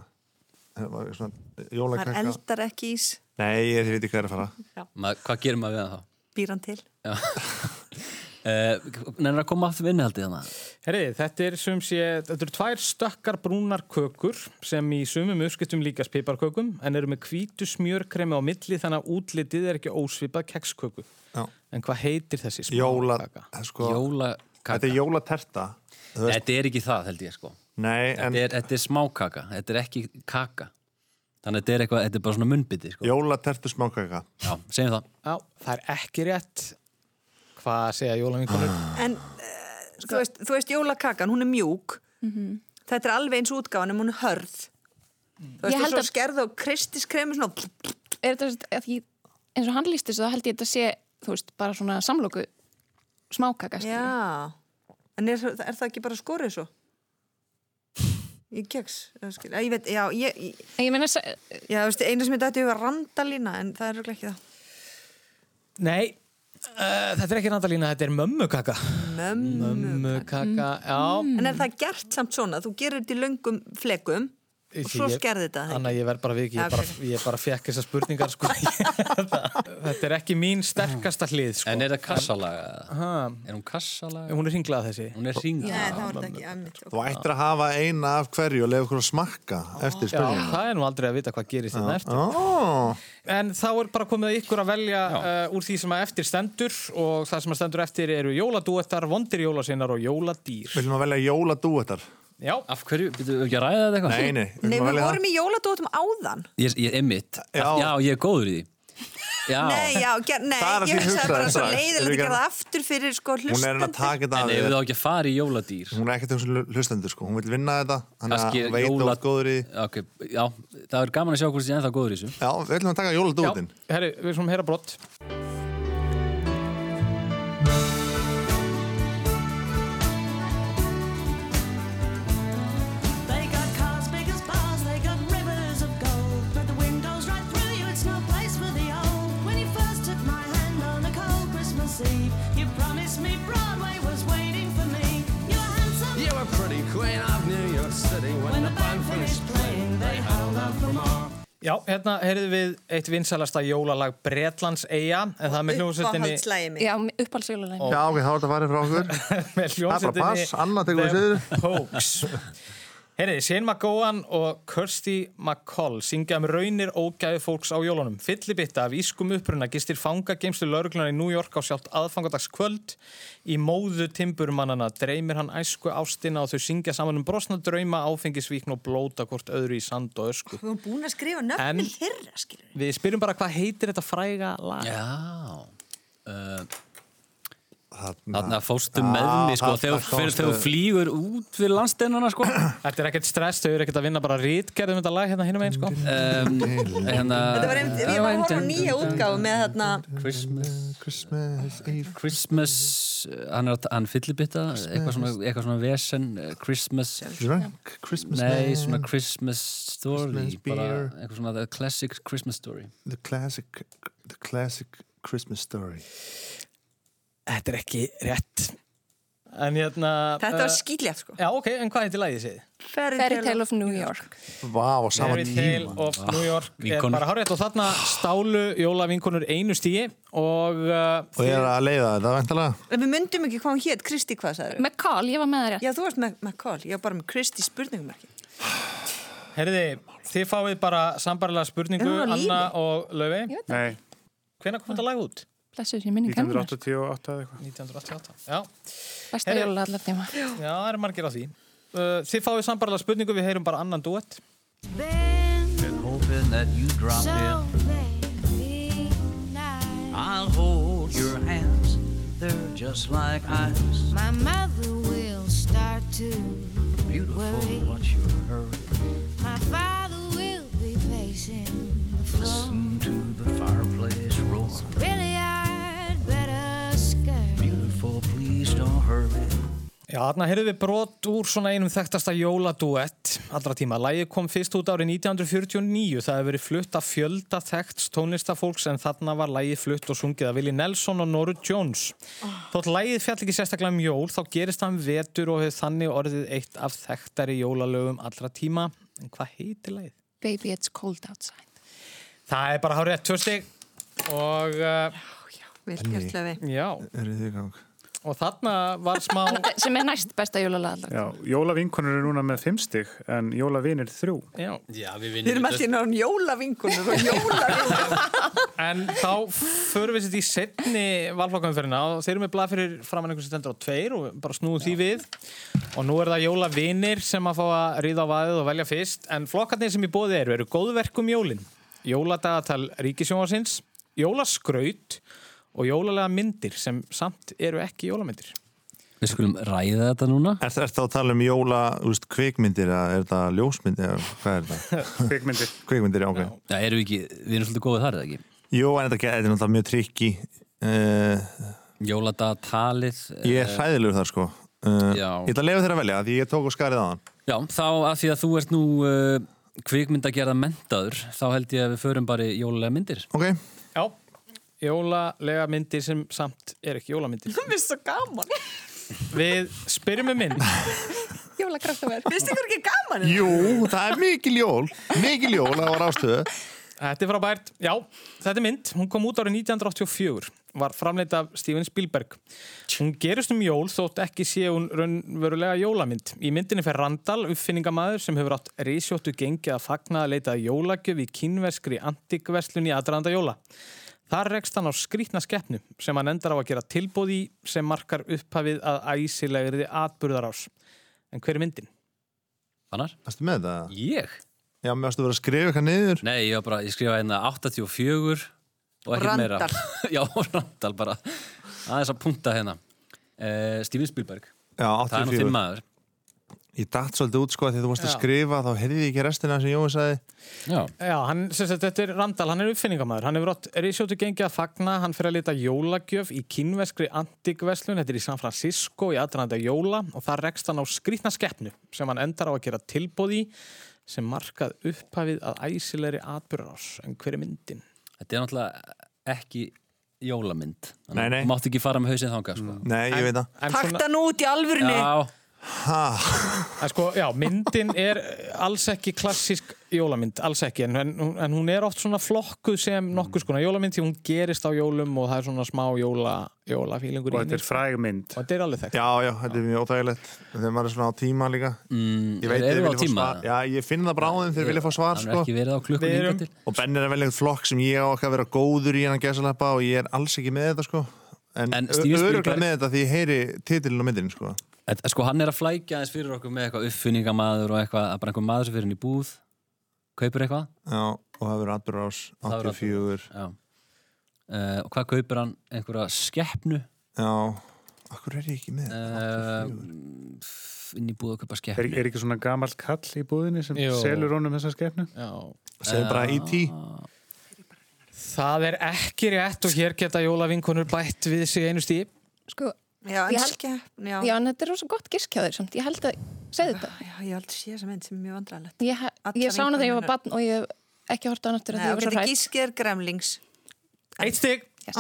S5: Það var svona
S3: Það er
S5: jólakaka
S3: eldar ekki ís,
S5: Nei, ég veit ekki hvað er að fara
S6: Ma, Hvað gerir maður við það þá?
S3: býr hann til.
S6: Uh, Nennir að koma aftur við innihaldið hérna? hana
S5: Sko,
S1: Herriði, þetta er sem sé, þetta eru tvær stökkar brúnar kökur sem í sumum uppskiptum líkast piparkökum en eru með hvítu smjörkremi á milli þannig að útlitið er ekki ósvipað keksköku.
S5: Já.
S1: En hvað heitir þessi
S5: Jóla,
S1: smákaka?
S5: sko,
S6: Jólakaka
S5: Þetta er jólaterta þú veist-
S6: Þetta er ekki það held ég sko
S5: Nei, en
S6: þetta er, þetta er smákaka, þetta er ekki kaka Þannig að þetta er eitthvað, þetta er bara svona munnbytti sko.
S5: jólatertu smákaka
S6: Já, segjum það
S1: Já, það er ekki rétt. Hvað segja jólavinkonur?
S3: En uh, þú, veist, þú veist, jólakakan, hún er mjúk, þetta er alveg eins útgáðan en hún er hörð. Þú
S4: Ég
S3: veist,
S4: held
S3: og svo
S4: að-
S3: skerð og kristiskremi svona,
S4: er þetta að ég, eins og hann líst þessu þá held ég þetta sé, þú veist, bara svona samlóku smákaka skilur.
S3: já, en er, er það ekki bara skorið svo? Ég keks, eða skil- ég veit, já, ég, ég,
S4: En ég meina, se-
S3: já, þú veist, einu sem ég dætti yfir randalína, en það er örugglega ekki það.
S1: Nei, uh, þetta er ekki randalína, þetta er mömmukaka.
S3: Mömmu.
S1: Mömmukaka, já.
S3: En er það gert samt svona, þú gerir þetta í löngum flekum og svo
S1: Ég-
S3: skerði þetta það
S1: Anna, ég verð bara við ekki, ég
S3: Já,
S1: bara,
S3: ok.
S1: ég bara fekk þessar spurningar sko. þetta er ekki mín sterkasta hlið sko.
S6: En er það kassalaga? eða?
S1: Ha,
S6: Er hún kassalaga?
S1: Hún er hringlað þessi.
S6: Hún er ringa
S3: Nei, það var þetta ekki ammit
S5: Þú ættir að hafa eina af hverju og leiða okkur að smakka
S1: Já,
S5: eftir spilum.
S1: það er nú aldrei að vita hvað gerist þetta eftir.
S5: Ó,
S1: En þá er bara komið að ykkur að velja uh, úr því sem að eftir stendur og það sem að stendur eftir eru jóladúettar, vondir jólasinnar og jóladýr.
S5: viljum að velja jóladúetar?
S1: Já,
S6: Af hverju, byrju, ekki að ræða þetta eitthvað?
S5: Nei, nei,
S3: Nei,
S5: viljum að
S3: við
S5: velja það?
S3: vorum í jóladótum áðan
S6: Ég, ég er mitt já.
S5: Já.
S6: ég er góður í því Já,
S3: Nei, já, ger, nei,
S5: Það er það sem
S3: ég
S5: ég
S3: hugsaði
S5: hugsaði
S3: bara svo
S5: strax.
S3: leiðilegt að
S5: Erum við
S3: gera
S5: ekki
S3: það aftur fyrir sko
S5: Hún er enn að
S3: hlustandi
S5: taka þetta
S6: en
S5: af
S6: ef
S5: þér.
S6: þá ekki að fara í jóladýr
S5: Hún er ekkert að hugsa um hlustendur sko, hún vil vinna þetta, hann er
S6: Kannski
S5: að veita
S6: jóla-
S5: jóla... góður í...
S6: okay, Já, það er gaman að sjá hvort ég er ennþá góður í þessu
S5: Já, við viljum að taka
S1: já,
S5: jóladúetin.
S1: herri, við erum hér að brott.
S8: They got cars big as bars, they got rivers of gold. But the windows right through you, it's no place for the old. When you first took my hand on a cold Christmas Eve, you promised me Broadway was waiting for me. You were handsome. You were pretty queen of New York City. When, the band finished playing, they held out for more.
S1: Já, hérna heyrðum við eitt vinsalasta jólalag Bretlands Eia, en það er með hljómsveitinni
S3: Uppáhaldslægi mig
S4: já, uppáhaldsjólulegin
S5: Já, ok, þá er þetta að fara frá okkur.
S1: með
S5: Það er bara pass,
S1: hljómsveitinni
S5: Anna tekur við
S1: The
S5: siður.
S1: Pokes. Herriði, Shane McGowan og Kirsty McCall syngja um raunir ógæðu fólks á jólunum. Fyllibitta af ískum uppruna gistir fangageimslu lauruglunar í New York á sjálft aðfangadagskvöld. Í móðu timburmannana dreymir hann æsku ástina og þau syngja saman um brosna drauma, áfengisvíkn og blóta hvort öðru í sand og ösku.
S3: Við vorum búin að skrifa
S1: En-
S3: nöfnum þeirra, skilur við.
S1: Við spyrjum bara hvað heitir þetta fræga lag?
S6: Já uh, Þannig að fóstu með mig sko, þegar þú- þegar þú flýgur út fyrir landsteinana sko.
S1: Þetta er ekkert stress, þau eru ekkert að vinna bara rítgerðum þetta lag hérna hinum einn sko.
S6: um, hérna,
S3: Þetta var einmitt, ég var að horfa á nýja útgáfu með þarna,
S6: Christmas,
S5: Christmas Eve
S6: Christmas eh, hann, er, að- hann fyllibitta eitthvað svona, eitthvað svona vesen eh, Christmas
S5: Drunk Christmas
S6: Nei,
S5: man,
S6: svona Christmas story
S5: Christmas
S6: bara
S5: beer.
S6: eitthvað svona the classic Christmas story
S5: The classic The classic Christmas story
S1: Þetta er ekki rétt. En hérna...
S3: þetta var
S1: eh,
S3: skýtlétt sko.
S1: Já, ok, en hvað heitir lagið séð?
S4: Fairy Tale of New York
S5: Vá, á sama
S1: Fairy Tale
S5: tíma
S1: of New York er
S6: vinkonur.
S1: bara hárétt og þarna
S5: Ah.
S1: stálu jólavinkonur einu stíi og
S5: Og
S1: uh,
S5: ég er að leiða þetta, veintalega
S3: En við myndum ekki hvað hún hétt, Kristi hvað sagður
S4: McCall, ég var með það rétt
S3: Já, þú varst með, með Call, ég var bara með Kristi spurningumarki.
S1: herriði, þið fáið bara sambarilega spurningu,
S3: Er hún á lífi?
S1: Anna og Laufey.
S2: Nei,
S1: Hvenær kom þetta lag út?
S4: blessuð sér minning hennar
S2: 1988 eða eitthvað.
S1: 1988. Já,
S4: besta
S1: Heyrðu.
S4: jóla allar tíma
S1: já, það eru margir á því. Uh, þið fáið sambarilega spurningu, við heyrum bara annan duett.
S8: Been
S6: hoping that you drop
S8: so very nice.
S10: I'll hold your hands, they're just like ice.
S8: My mother will start to
S10: Beautiful,
S8: worry.
S10: what's your hurry?
S8: My father will be pacing the floor.
S10: Listen to the fireplace roar.
S8: Really, I'd better skirt.
S10: Beautiful, please don't hurry.
S1: Já, þarna heyrðum við brot úr svona einum þekktasta jóladuett allra tíma. Lægið kom fyrst út árið 1949, það hefur verið flutt af fjölda þekkts tónlistafólks en þarna var lægið flutt og sungið af Willi Nelson og Norru Jones. Þótt lægið fjall ekki sérstaklega um jól, þá gerist það um vetur og hefur þannig orðið eitt af þekktari jólalögum allra tíma. En hvað heitir lægið?
S4: Baby It's Cold Outside
S1: Það er bara hárið rétt tvö stig og uh,
S3: Vel gert lefi.
S1: já,
S5: Eru þið í gang?
S1: og þarna var smá...
S4: Eh, sem er næst besta jóla allar
S2: Já, jólavinkonur eru núna með fimmstig en jólavinir þrjú.
S1: Já.
S6: Já, við
S3: Við erum
S6: vinnum
S3: alltaf inn á jólavingunum og jólavingunum.
S1: En þá förum við sér í setni valflokkaumferðina og þeir eru með blað fyrir framann einhvern sem stendur á tveir og bara snúum því við og nú er það jólavinir sem að fá að ríða á vaðið og velja fyrst en flokkarnir sem í bóði eru eru góðverkum jólin jóladagatal ríkisjónasins jólaskraut og jólalega myndir sem samt eru ekki jólamyndir
S6: Við skulum ræða þetta núna
S5: Er þetta að tala um jóla, þú veist, kvikmyndir eða er þetta ljósmyndir, eða hvað er þetta?
S2: Kvikmyndir.
S5: Kvikmyndir, já, ok
S6: Já, erum við ekki, við erum svolítið góðið þar eða ekki
S5: Jú, en þetta ge- þetta er náttúrulega mjög trikki
S6: Jóladatalið
S5: Ég er hræðilegur þar, sko Uh,
S6: Já.
S5: Ég ætla að leifa þér að velja, því ég tók og skarið á hann
S6: Já, þá að því að þú ert nú uh, kvikmyndagerða mentaður þá held ég að við förum bara í jólulega myndir
S5: Ok,
S1: Já, jólalega myndir sem samt eru ekki jólamyndir
S3: Mér finnst svo gaman.
S1: Við spyrjum um mynd
S4: Jólakraftaverk
S3: Finnst ykkur ekki gaman?
S5: Jú, það er mikil jól Mikil jól, það var ástöðu
S1: Þetta er frábært. Já, þetta er mynd. Hún kom út árið 1984. Var framleitt af Steven Spielberg. Hún gerist um jól þótt ekki sé hún raunverulega jólamynd. Í myndinni fer Randall, uppfinningamæður sem hefur átt reysjóttu gengi að fagna að leita að jólagjöf í kínverskri antikverslun í aðdraðanda jóla. Þar rekst hann á skrýtna skeppnu sem hann endar á að gera tilbúð í sem markar upphafið að æsilegriði atburðarás. En hver er myndin?
S6: Fannar?
S5: Varstu með það?
S6: Ég?
S5: Já, mér varstu að vera að skrifa eitthvað niður
S6: Nei, ég, var bara, ég skrifa hérna 84 og ekki meira Já, og Randall bara aðeins að punta hérna uh, Steven Spielberg,
S5: Já,
S6: það er nú þinn
S5: 84
S6: maður
S5: Ég datt svolítið út sko að því þú varst að
S1: Já.
S5: skrifa þá heyrði ég ekki restina sem Jói sagði
S6: Já,
S1: Já, hann, sem sagt, þetta er Randall, hann er uppfinningamæður, hann hefur átt reysjótu gengi að fagna, hann fer að lita jólagjöf í kínveskri antikverslun, þetta er í San Francisco í aðrænda jóla og það rekst hann á skrýtna skeppnu sem hann endar á að gera tilbúð í sem markað upphafið að æsilegri atbyrðarás. En hver er myndin?
S6: þetta er náttúrulega ekki jólamynd
S5: Nei, nei.
S6: Þú mátt ekki fara með hausinn þangað sko.
S5: Nei, ég veit það
S1: En
S3: Takta nú út í alvörunni.
S6: Já,
S1: En sko, já, myndin er alls ekki klassísk jólamynd, alls ekki, en, en, en hún er oft svona flokkuð sem
S2: Mm.
S1: nokkuð skona jólamynd því hún gerist á jólum og það er svona smá jóla, jólafílingur
S2: Og þetta er frægmynd.
S1: Og þetta er alveg þekkt.
S5: Já, já, þetta er mjög óþægilegt Þegar maður er svona á tíma líka
S6: mm,
S5: Ég veit þeir
S6: eru á
S5: vilja fá
S6: tíma?
S5: svar Já, ég finn það bráðum þeir vilja fá svar
S6: Hann er
S5: sko
S6: ekki verið á klukkunni
S1: Við erum-
S6: hingað til
S5: Og Benn er að velja eitthvað flokk sem ég á ekki að vera góður í hennan gæsalappa og ég er alls ekki með þetta sko En,
S6: En
S5: en
S6: Steven Spielberg-
S5: með þetta því ég heyri titilin á myndin sko
S6: Þetta, sko, hann er að flækja aðeins fyrir okkur með eitthvað uppfinningamaður og eitthvað, að bara einhver maður sem fyrir hann í búð kaupir eitthvað
S5: Já, og það verður atbyrðarás
S6: Það verður
S5: 84
S6: Eh, já. Uh, og hvað kaupir hann? Einhverja skeppnu
S5: Já, Akkur er ég ekki með
S6: uh, inn í búð og köpa
S2: Er,
S6: skeppni
S2: er ekki svona gamall kall í búðinni sem
S1: Jú.
S2: selur honum þessa skefnu?
S1: Já.
S5: Segðu bara
S6: eh,
S5: E E.T.
S6: oh,
S1: Það er ekki rétt og hér geta jólavinkonur bætt við sig einu stíð.
S4: Sko,
S3: Já, en
S4: Ég held-
S3: skepp já.
S4: já, en þetta er rosa gott gískjáður samt. Ég held að, segðu þetta.
S3: já, ég held að sé þessa mynd sem er mjög vandræðilegt
S4: Ég, ha- ég
S3: Allar
S4: sá hana þegar ég var
S3: vinkonur.
S4: barn og ég hef ekki horta hann eftir að
S3: Nei,
S4: því
S3: ok,
S4: ég var svo
S3: þetta
S4: hrætt.
S3: gískið er gremlings
S1: Eitt stík!
S4: Yes.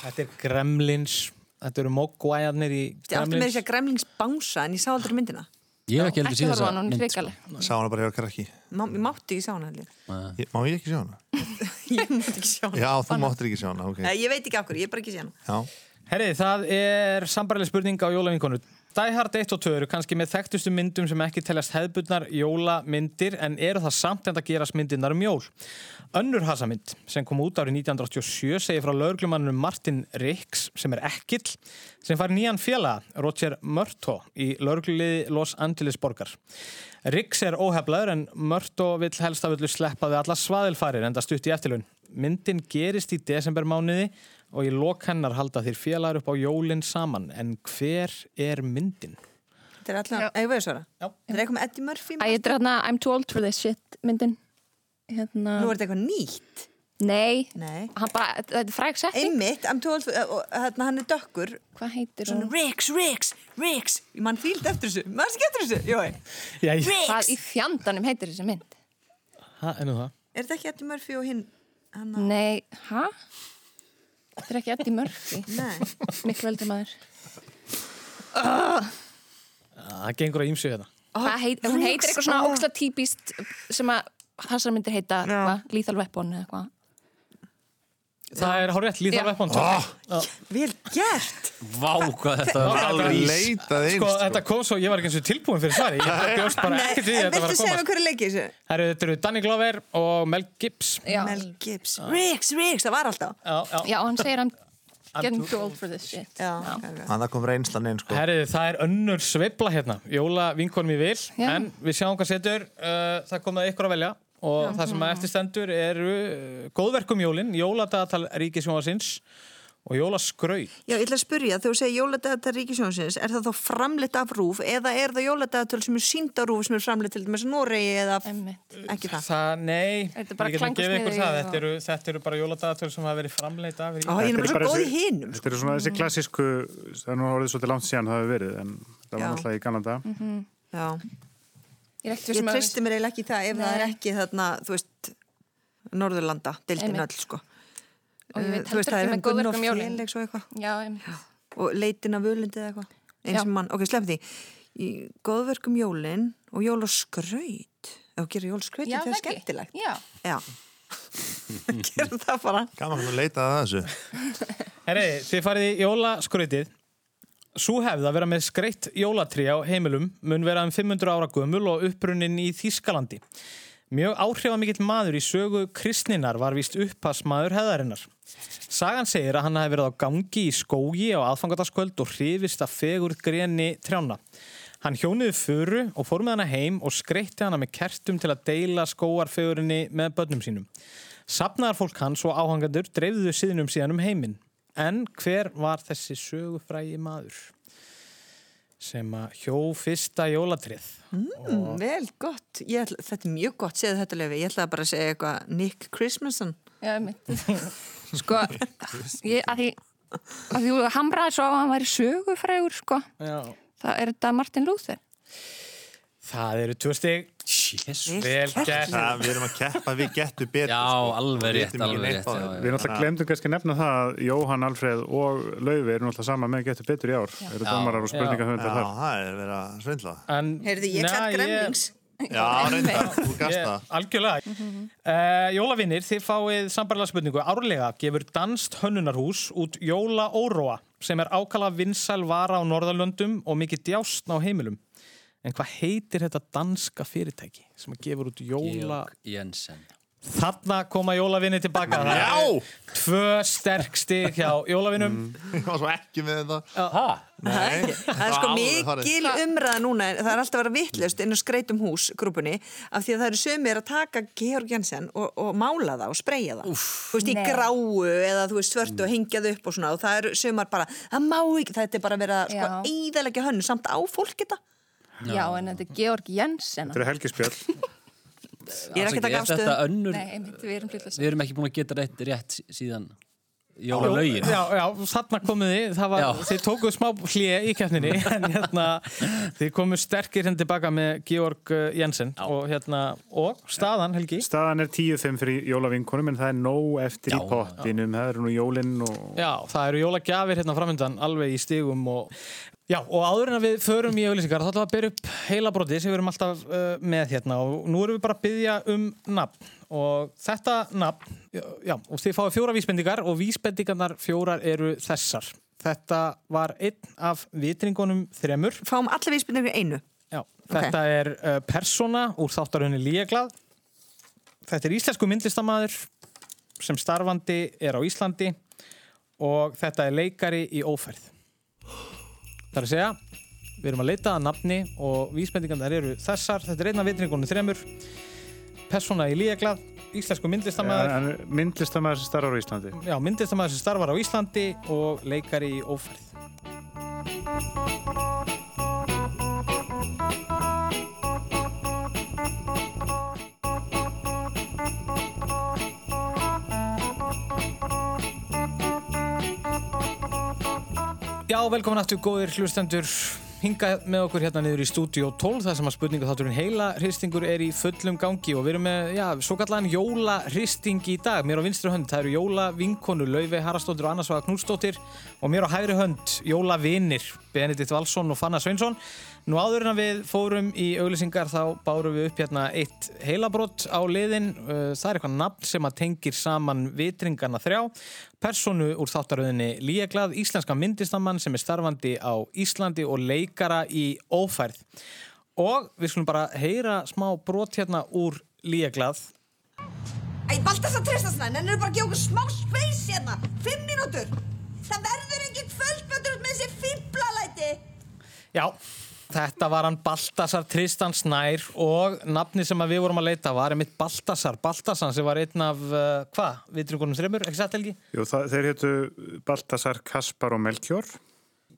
S1: Þetta er Gremlins. Þetta eru Mogwaiðarnir í
S3: Ég átti með
S1: Gremlins.
S3: þess að gremlings bánsa en ég sá aldrei myndina
S6: Ég hef ekki heldur
S4: Ekki
S6: síðan
S4: horfa á hann,
S6: þessa
S4: hún er
S6: mynd
S4: hrikaleg.
S5: Sá hana bara hjá krakki
S3: Má, Ég mátti ekki sjá hana allir
S5: ég, Má ég ekki sjá hana?
S3: Ég mátti ekki sjá hana
S5: Já, þú máttir ekki sjá hana, ok
S3: Nei, Ég veit ekki af hverju, ég er bara ekki sjá hana
S5: Já,
S1: Herri, það er sambarlega spurning á jólavinkonu. Die Hard 1 og 2 eru kannski með þekktustu myndum sem ekki teljast hefðbundnar jólamyndir en eru það samt en það gerast myndirnar um jól. Önnur hasamynd sem kom út árið 1987 segir frá lögreglumannum Martin Ricks sem er ekkill sem fær nýjan félaga Roger Murto í lögregluliði Los Angeles borgar. Ricks er óheflaður en Murto vill helst af öllu sleppa við alla svaðilfarir en það stutt í eftirlaun. Myndin gerist í desembermánuði og í lok hennar halda þér félagar upp á jólin saman en hver er myndin?
S3: Þetta er allan, eigum við að svara
S1: Já.
S3: Þetta er eitthvað með Eddie Murphy
S4: Æ, þetta er hérna I'm too old for this shit myndin. Hérna,
S3: Nú er þetta eitthvað nýtt
S4: nei,
S3: Nei
S4: hann bara, þetta er fræg setning.
S3: Einmitt, I'm 12, uh, og hérna hann er dökkur
S4: Hvað heitir
S3: Svona
S4: hún?
S3: Rix, Rix, Rix Ég mann fílt eftir þessu, maður ekki eftir þessu Jói,
S1: Já, ég...
S4: Hvað
S3: Rix
S4: í fjandanum heitir þessi mynd?
S1: Ha, ennú það.
S3: Er þetta ekki Eddie Murphy og hinn? Hann að,
S4: Nei, hæ? Þetta er ekki Eddie Murphy.
S3: nei
S4: Mikluveldi maður.
S1: Það gengur á ýmsu hérna.
S4: Hvað
S3: Oh,
S4: heit, hún heitir eitthvað svona óksla típist sem að þessar myndir heita hva, Lethal Weapon eða eitthvað.
S1: Það er hárétt,
S4: Já.
S1: líðar veppon. Oh,
S3: Vel gert
S6: Vá, hvað þetta var
S5: alveg leitað
S1: Sko,
S5: einst
S1: þetta kom svo, ég var ekki eins og tilbúin fyrir svari. Ég bara bjóst bara
S3: Nei,
S1: ekkert við
S3: en
S1: þetta var
S3: viltu
S1: að
S3: segja
S1: komast.
S3: mér hverju leikið þessu?
S1: Það eru, þetta eru Danny Glover og Mel Gibbs. Já,
S4: Já,
S3: Mel Gibbs, Rix, Rix, það var alltaf
S1: já.
S4: já hann segir I'm getting too old for this shit.
S3: Já, já.
S5: Þannig kom reynslan einn, sko
S1: Herriði, það er önnur sveifla hérna. Jóla vinkonum í vil,
S4: Já.
S1: en við sjáum hvað setur. Uh, það kom að ykkur að velja og það sem að eftirstendur eru uh, góðverkum jólin, jóladagatal ríkisjónasins og jólaskraut.
S3: Já, ég ætla að spyrja, þegar þú segir jóladagatal Ríkisjónsins, er það þá framleitt af rúf eða er það jóladagatal sem er sínd á rúf sem er framleitt til dæmis í Noregi eða
S4: Einmitt.
S3: ekki það?
S1: Það, nei, ég
S4: Þetta er
S1: get
S4: bara
S1: ekki gefið ykkur
S4: klangurssniðið
S1: það.
S4: og-
S1: Þetta eru, þetta eru bara jóladagatal sem hafa verið framleita af
S3: Ó,
S1: ríkisjónasins.
S3: ég
S2: Þetta er
S3: er bara svo
S2: bara
S3: góð í
S2: þessi-
S3: hinum. sko.
S2: Þetta er svona þessi klassísku, það er nú orðið svolítið langt síðan það hefur verið, en það var
S3: Já.
S2: náttúrulega í Kanada.
S5: Mhm.
S3: Já,
S4: Ég er ekkert
S3: ég
S4: sem að
S3: treysti mér eiginlega ekki í það ef það er ekki þarna, þú veist, Norðurlanda, deildin
S4: Einmitt.
S3: öll, sko. Eh,
S4: Og ég veit
S3: Þú veist,
S4: heldur
S3: það
S4: ekki
S3: er
S4: með
S3: hann Gunnar
S4: góðverkum jólin.
S3: Félags og eitthvað.
S4: Já, einmitt.
S3: og leitin af völundi eða eitthvað eins
S4: Já.
S3: og mann, ok, slepp því í góðverkum jólin og jól og skraut ef þú gerir jól og skraut,
S4: Já,
S3: þetta er
S4: ekki.
S3: skemmtilegt
S4: Já,
S3: já, gerum það bara
S5: Gaman að leita að þessu
S1: Herriði, þið farið í jólaskrautið. Sú hefð að vera með skreitt jólatrí á heimilum mun vera um 500 ára gömul og upprunnin í Þýskalandi. Mjög áhrifamikill maður í sögu kristninar var víst uppasmaður hefðarinnar. Sagan segir að hann hafi verið á gangi í skógi á aðfangataskvöld og hrifist að fegur greni trjána. Hann hjóniði furu og fór með hana heim og skreitti hana með kertum til að deila skóarfegurinni með börnum sínum. Sapnaðar fólk hans og áhangandur dreifðuðu síðnum síðan um heiminn. En hver var þessi sögufrægi maður sem að hjó fyrsta jólatrið?
S3: mm, vel gott, Ég ætla, þetta er mjög gott séð þetta lefi, ég ætla bara að segja eitthvað Nick Christmason
S4: já, einmitt. Sko, ég, að því, að því þú hamraði svo á að hann væri sögufrægur, sko.
S1: Já.
S4: Það er þetta Martin Luther.
S1: Það eru tvö stig.
S6: Jesus.
S1: Vel gert.
S5: Það, við erum að keppa, við getum betur
S6: Já,
S5: sko.
S6: alveg
S5: Við
S6: rétt,
S5: vitum ekki
S6: alveg
S5: neitt
S6: rétt,
S5: á
S6: já,
S5: þeim.
S6: já.
S2: Við náttúrulega glemdum kannski að nefna það að Jóhann, Alfreð og Lauvi eru náttúrulega sama með getur betur í ár. Eru dómarar og spurningahöfundar
S5: Já,
S2: þar.
S5: það er verið að svindla
S1: En,
S3: heyrði, ég
S1: Nei,
S3: kært gremlings
S5: Já, reyndar, þú gast
S1: Ég,
S5: það
S1: algjörlega mm Jólavinnir, þið fáið sambarlega spurningu Árlega gefur Danst Hönnunarhús út Jóla Óróa sem er ákala vinsæl vara á Norðalöndum og mikið djástn á heimilum En hvað heitir þetta danska fyrirtæki sem að gefur út Jóla
S6: Georg Jensen
S1: Þarna koma jólavinni tilbaka Það
S5: Já!
S1: eru Tvö sterk stig hjá Eh, jólavinnum
S5: Ég var svo ekki með þetta.
S1: Hæ?
S5: Nei.
S3: Það er sko mikil umræða núna, það er alltaf að vera vittlust inn á skreitum hús grúpunni af því að það eru sömur að taka Georg Jensen og, og mála það og spreja það þú veist, í
S7: Nei.
S3: gráu eða þú veist svörtu og hengja það upp og svona og það eru sömur bara, það má ekki, þetta er bara verið að sko,
S4: Já.
S3: eðalega hönnu samt á fólk þetta
S4: Já, en þetta er Georg Jensen.
S2: Þetta eru helgispjall.
S3: Ég er ekki að taka
S6: Þetta
S3: afstöðu um-
S6: önnur,
S4: Nei, einmitt, við erum hlutlega.
S6: við erum ekki búin að geta rétt, rétt síðan jólalögin.
S1: Já, já, þarna komuð þið það var,
S6: Já.
S1: Þið tókuð smá hlýja í keppninni En hérna, þið komuð sterkir henni tilbaka með Georg eh, Jensen Og hérna, og staðan Helgi
S2: Staðan er 10-5 fyrir jólavinkonum en það er nóg eftir í pottinum. Það eru nú jólinn og
S1: Já, það eru jólagjafir hérna framöndan alveg í stigum og Já, og áður en að við förum í auðlýsingar þá ætlum við að byrja upp heila broti sem við erum alltaf uh, með hérna og nú erum við bara að byggja um nafn og þetta nafn, já, og þið fáið fjóra vísbendingar og vísbendingarnar fjórar eru þessar. Þetta var einn af vitringunum þremur.
S3: Fáum allir vísbyrningu einu
S1: Já, þetta er uh, persóna úr þáttarhönni Líaglað. Þetta er íslensku myndlistamæður sem starfandi er á Íslandi og þetta er leikari í óferð. Það er að segja, við erum að leita að nafni og vísbendingarnar eru þessar. Þetta er einn af vitringunum þremur. Persóna í Líaglað, íslensku myndlistamæður.
S2: Hann er myndlistamæður sem starfar á Íslandi.
S1: Já, myndlistamæður sem starfar á Íslandi og leikari í óferð. Já, velkomin aftur góðir hlustendur hingað með okkur hérna niður í stúdíó 12 þar sem að spurninga þátturinn heila hristingur er í fullum gangi og við erum með, já, svo kallan jóla hristing í dag mér á vinstri hönd, það eru jóla vinkonu Laufey Harastóttir og Anna Svaga Knúsdóttir og mér á hægri hönd, jóla vinir Benedikt Valsson og Fanna Sveinsson Nú áður en að við fórum í auglýsingar þá bárum við upp hérna eitt heilabrott á liðin Uh, það er eitthvað nafn sem að tengir saman vitringarna þrjá personu úr þáttaröðinni Líaglað, íslenska myndistamann sem er starfandi á Íslandi og leikara í ófærð. Og við skulum bara heyra smá brot hérna úr Líaglað.
S8: Æ, Baltas að treysta svona, en bara að gefa okkur smá space hérna, fimm mínútur. Það verður engin kvöldmöndur með þessi fíblalæti.
S1: Já, þetta var hann Baltasar Tristan Snær og nafni sem að við vorum að leita var einmitt Baltasar. Baltasar sem var einn af, uh, hvað, vitringunum þreymur, ekki satt Helgi?
S2: Jú, það, þeir héttu Baltasar, Kaspar og Melkjór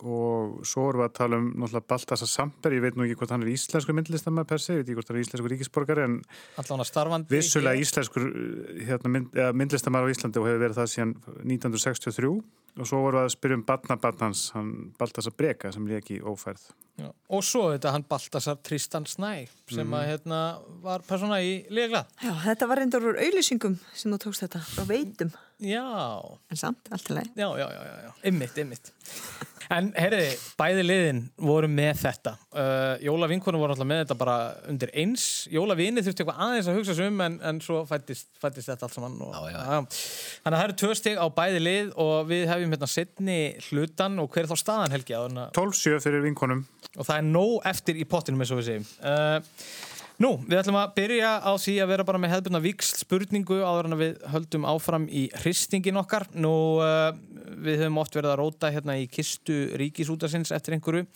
S2: og svo erum við að tala um náttúrulega Baltasar Samper, ég veit nú ekki hvort hann er íslensku myndlistamæður per se, ég veit ekki hvort hann er íslensku ríkisborgari en
S1: Allan að starfandi.
S2: vissulega íslenskur uh, hérna, mynd, eða, myndlistamæður á Íslandi og hefur verið það síðan 1963 og svo vorum við að spyrja um batnabatnans, hann Baltasar Breka sem lék í ófærð.
S1: Já. Og svo þetta hann Baltasar Tristan Snær sem að hérna var persóna í Líaglað.
S3: Já, þetta var reyndar úr auðlýsingum sem þú tókst þetta frá veitum,
S1: Já,
S3: en samt, allt í lagi
S1: já, já, já, já, já. Ymmit, ymmit. En herriði, bæði liðin voru með þetta. Uh, Jóla vinkonum voru alltaf með þetta bara undir eins. Jóla vinið þurfti eitthvað aðeins að hugsa sig um en, en svo fættist, fættist þetta allt saman. Og, já, já. Þannig að það eru tvö stig á bæði lið og við hefum hérna setni hlutan og hver er þá staðan Helgi? áður en að-
S2: 12-7 fyrir vinkonum.
S1: og það er nóg eftir í pottinum eins og við segjum uh, Nú, við ætlum að byrja á því að vera bara með hefðbundna viksl spurningu áður en að við höldum áfram í hristingin okkar Nú, uh, við höfum oft verið að róta hérna í kistu ríkisútasins eftir einhverju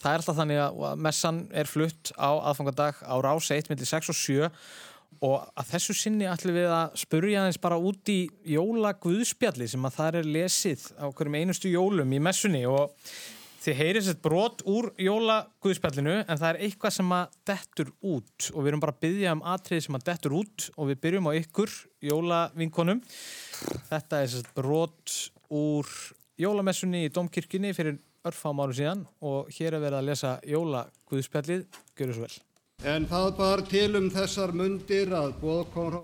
S1: Það er alltaf þannig að að messan er flutt á aðfangadag á rás 1 millir 6 og 7 og að þessu sinni ætlum við að spurja aðeins bara út í jólaguðspjalli sem að það er lesið á hverjum einustu jólum í messunni og Þið heyrið sér brot úr jólaguðspjallinu en það er eitthvað sem að dettur út og við erum bara að byggja um atriði sem að dettur út og við byrjum á ykkur, jólavinkonum. Þetta er sér brot úr jólamessunni í Dómkirkjunni fyrir örfám áru síðan og hér er verið að lesa jólaguðspjallið. Gjöru svo vel.
S11: En það bar til um þessar mundir að bóðkóra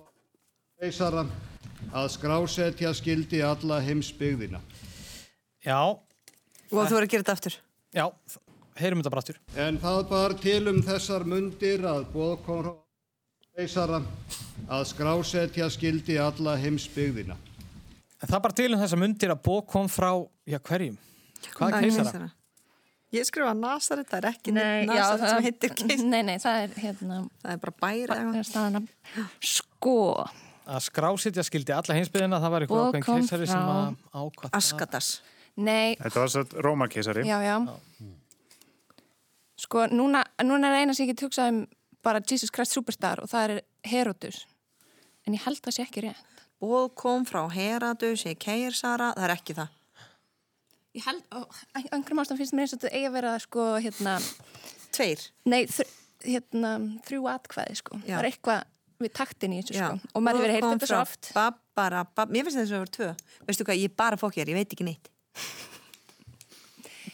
S11: reysara að skrásetja skildi alla heimsbyggðina.
S1: Já,
S3: Og þú voru að gera þetta aftur
S1: já, heyrum þetta brattur.
S11: En það bar til um þessar mundir að bóðkóra reysara að skrásetja skildi alla heimsbyggðina.
S1: En það er bara til um þessa mundir að bók kom frá, já hverjum? Hvað keisara?
S3: Ég skrifa Nasaret, það er ekki
S4: Nei,
S3: neitt
S4: já,
S3: Nasaret
S4: það-
S3: sem heitir keisara
S4: Nei, nei, það er hérna,
S3: Það er bara bæri
S4: það er staðan að- sko,
S1: að skrásetja skildi alla heimsbyðina það var eitthvað
S4: Og
S1: ákveðin
S4: kom
S1: keisari sem
S4: frá
S1: að ákvæða
S3: Askatas
S4: Nei,
S2: Þetta var satt Rómakeisari.
S4: já, já. Mm. Sko, núna, núna er eina sem ég get hugsað um bara Jesus Christ Superstar og það er Herodus. En ég held það sé ekki rétt.
S3: Bóð kom frá Heradus í Keirsara, það er ekki það
S4: Ég held, á á einhverjum ástæðum finnst mér eins og þetta eigi að vera, sko, hérna...
S3: Tveir?
S4: Nei, þr, hérna, þrjú atkvæði, sko.
S3: Já.
S4: Það er eitthvað við taktin í þessu,
S3: Já.
S4: sko. Og maður hefur heyrt
S3: kom
S4: þetta
S3: frá
S4: svo oft.
S3: Babarabab- Mér finnst þess að það voru tvö Veistu hvað, ég er bara fókjar, ég veit ekki neitt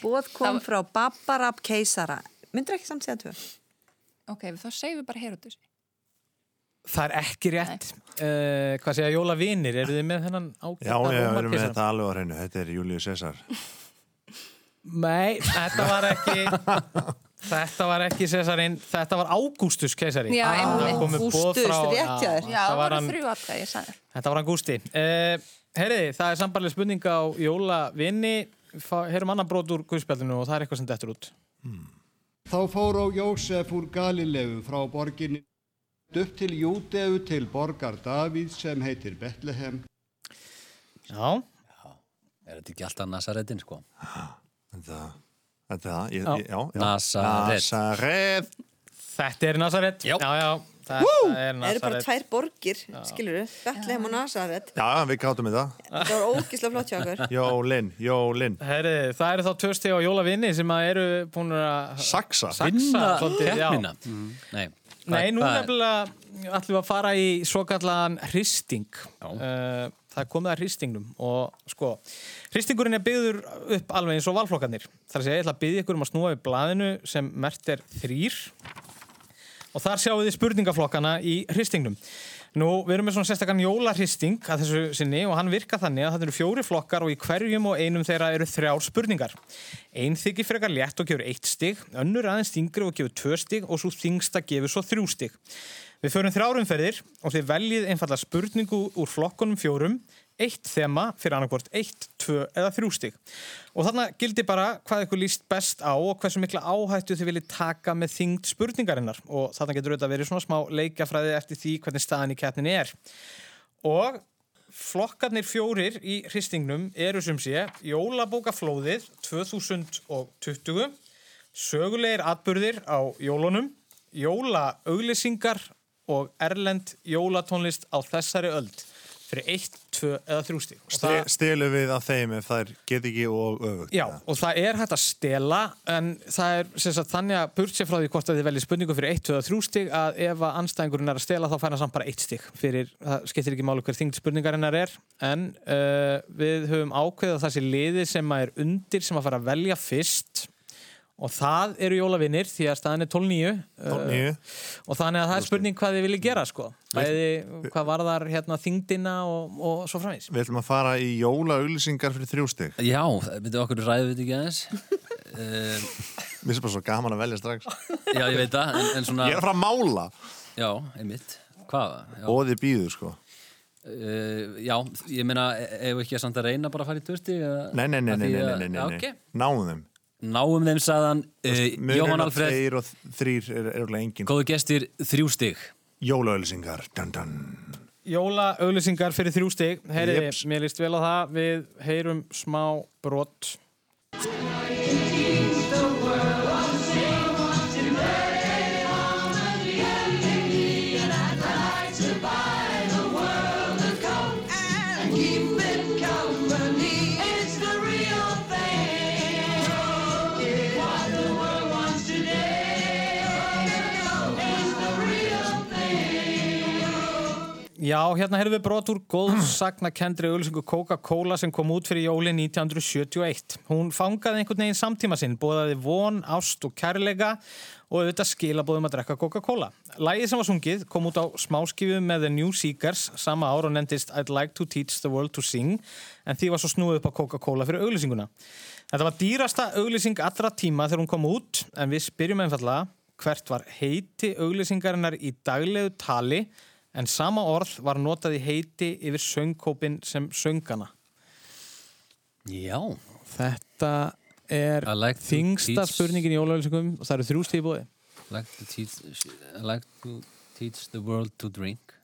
S3: Bóð kom frá Babarab keisara Myndur ekki samt segja tvö?
S4: Ok, þá segjum við bara Herodus.
S1: það er ekki rétt uh, hvað segja jólavinir, eru þið með þennan
S5: Já,
S1: ágæta
S5: já, við erum með
S1: Rómarkeisara?
S5: þetta alveg á hreinu. Þetta er Július César.
S1: Nei, þetta var ekki Þetta var ekki Cæsarinn, þetta var Ágústus keisari
S4: Já, einmitt.
S1: Það komu boð
S4: Ágústus,
S1: frá-
S4: rétt hjá þér. Já,
S1: þetta
S4: það
S1: var
S4: voru
S1: hann-
S4: þrjú atkvæði, ég sagði.
S1: Þetta var hann Gústi. Uh, Herriði, það er sambarlega spurning á jólavinni. Fá- Heyrum annan brot úr guðspjaldinu og það er eitthvað sem dettur út.
S11: Þá fór á Jósef úr Galileu frá borginni upp til Júdeu til borgar Davíð sem heitir Betlehem.
S1: Já.
S6: Er þetta ekki alltaf Nazaretin, sko?
S5: Þetta, þetta, ég,
S6: Já.
S5: ég- já. já.
S6: Nasaret.
S5: Nasaret.
S1: Þetta er Nazaret. Já, já. Þetta er
S3: Það eru bara
S1: Nazaret.
S3: tvær borgir, skilur við Betlehem og Nasaret
S5: Já, við gátum þetta.
S3: Það var ógislega flott hjá okkur
S5: Jólin, jólin.
S1: Herriði, það eru þá tösti á jólavinni sem að eru búin að...
S5: Saksa.
S1: Saksa. svolítið, já. Mm.
S6: keppnina. Mm. Nei.
S1: Nei, nú
S6: Hvað-
S1: nefnilega ætlum við að fara í svo kallan hristing. Uh, það er komið að hristingnum og sko, hristingurinn er byggður upp alveg eins og valflokkarnir. Það er að segja, ég ætla að byggja ykkur um að snúa við blaðinu sem mert er þrýr og þar sjáum við spurningaflokkana í hristingnum. Nú, við erum með svona sérstakann jólahristing að þessu sinni og hann virka þannig að það eru fjóri flokkar og í hverjum og einum þeirra eru þrjár spurningar. Einn þykir frekar létt og gefur eitt stig, önnur aðeins þingri og gefur tvö stig og svo þingsta gefur svo þrjú stig. Við förum þrjárumferðir og þið veljið einfalla spurningu úr flokkunum fjórum, eitt þema fyrir annarkvort eitt, tvö eða þrjú stig. Og þarna gildi bara hvað ykkur líst best á og hversu mikla áhættu þið viljið taka með þingd spurningarinnar og þarna getur auðvitað verið svona smá leikafræði eftir því hvernig staðan í keppninni er. Og flokkarnir fjórir í hristingnum eru sem sé Jólabókaflóðið 2020, sögulegir atburðir á jólunum, jólaauglýsingar og erlend jólatónlist á þessari öld fyrir 1, 2 eða 3 stík.
S5: Ste- Stelum við að þeim ef þær get ekki og öfugt.
S1: Já, og það er hægt að stela en það er sem sagt þannig að burt sér frá því hvort að þið veljið spurningu fyrir 1, 2 eða 3 stig að ef að anstæðingurinn er að stela þá fær hann samt bara 1 stig fyrir, það skiptir ekki máli hver þingd spurningarinnar er en uh, við höfum ákveðið að þessi liði sem að er undir sem að fara að velja fyrst og það eru jólavinir því að staðan er 12-9
S5: 12-9.
S1: uh, og þannig að það er spurning hvað þið viljið gera sko, bæði hvað varðar hérna þingdina og, og svo framins
S5: Við ætlum að fara í jólauglýsingar fyrir þrjústig.
S6: Já, við okkur ræðum við þetta ekki aðeins. Um,
S5: Mér finnst bara svo gaman að velja strax.
S6: já, ég veit það, en, en svona...
S5: Ég er að fara að mála.
S6: Já, einmitt. Hvað? Já.
S5: Bóði býður, sko.
S6: Uh, já, ég meina, e- eigum við ekki að samt að reyna bara að fara í tvörsti?
S5: Nei, nei, nei, nei, nei, nei, nei, nei.
S6: Ok,
S5: Náum þeim.
S6: náum þeim saðan. Uh,
S5: Munurinn
S6: Jóhann
S5: á
S6: Alfred,
S5: Tveir og þrýr er örgulega engin.
S6: góðu gestir, þrjú stig.
S5: Jólauglýsingar. Dun, dun.
S1: Jóla auðlýsingar fyrir þrjú stig Heyriði,
S5: Jeps.
S1: mér líst vel á það Við heyrum smá brot Já, hérna heyrðum við brot úr góðsakna kendri auðlýsingu Coca-Cola sem kom út fyrir jólin 1971. Hún fangaði einhvern veginn samtíma sinn, bóðaði von, ást og kærleika og auðvitað skilabóðum að drekka Coca-Cola. Lægið sem var sungið kom út á smáskifu með The New Seekers sama ár og nefndist I'd like to teach the world to sing en því var svo snúið upp á Coca-Cola fyrir auðlýsinguna. Þetta var dýrasta auðlýsing allra tíma þegar hún kom út en við spyrjum einfallega hvert var heiti auðlýsingarinnar í daglegu tali En sama orð var notað í heiti yfir söngkópin sem söngana.
S6: Já.
S1: Þetta er
S6: I like to
S1: þingsta
S6: teach-
S1: spurningin í ólöflýsingum og það eru þrjú stíð í bóði.
S6: Like to teach, I like to teach the world to drink.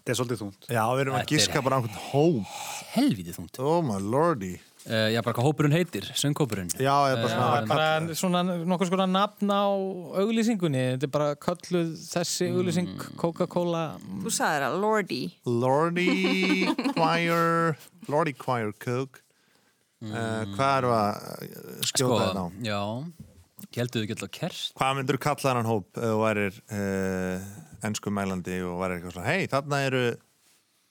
S2: Þetta er svolítið þungt.
S5: Já, við erum að giska bara á einhvern hóp.
S6: Helvítið þungt.
S5: Oh my lordy.
S6: Uh, já, bara hvað hópurinn heitir, söngkópurinn.
S5: Já, ég bara
S6: Eh,
S5: svona að
S1: bara svona nokkur skona nafn á auglýsingunni þetta er bara kölluð
S6: Mm.
S1: þessi auglýsing Coca-Cola
S3: Þú sagði það, Lordi
S5: Lordy Choir, Lordy Choir Cook. Mm. hvað erum við að eh, skjóta þetta á?
S6: Sko, já, heldur þau geta kerst?
S5: Hvað myndur kalla þennan hóp ef þú værir uh, ennsku mælandi og værir eitthvað svona, hei, þarna eru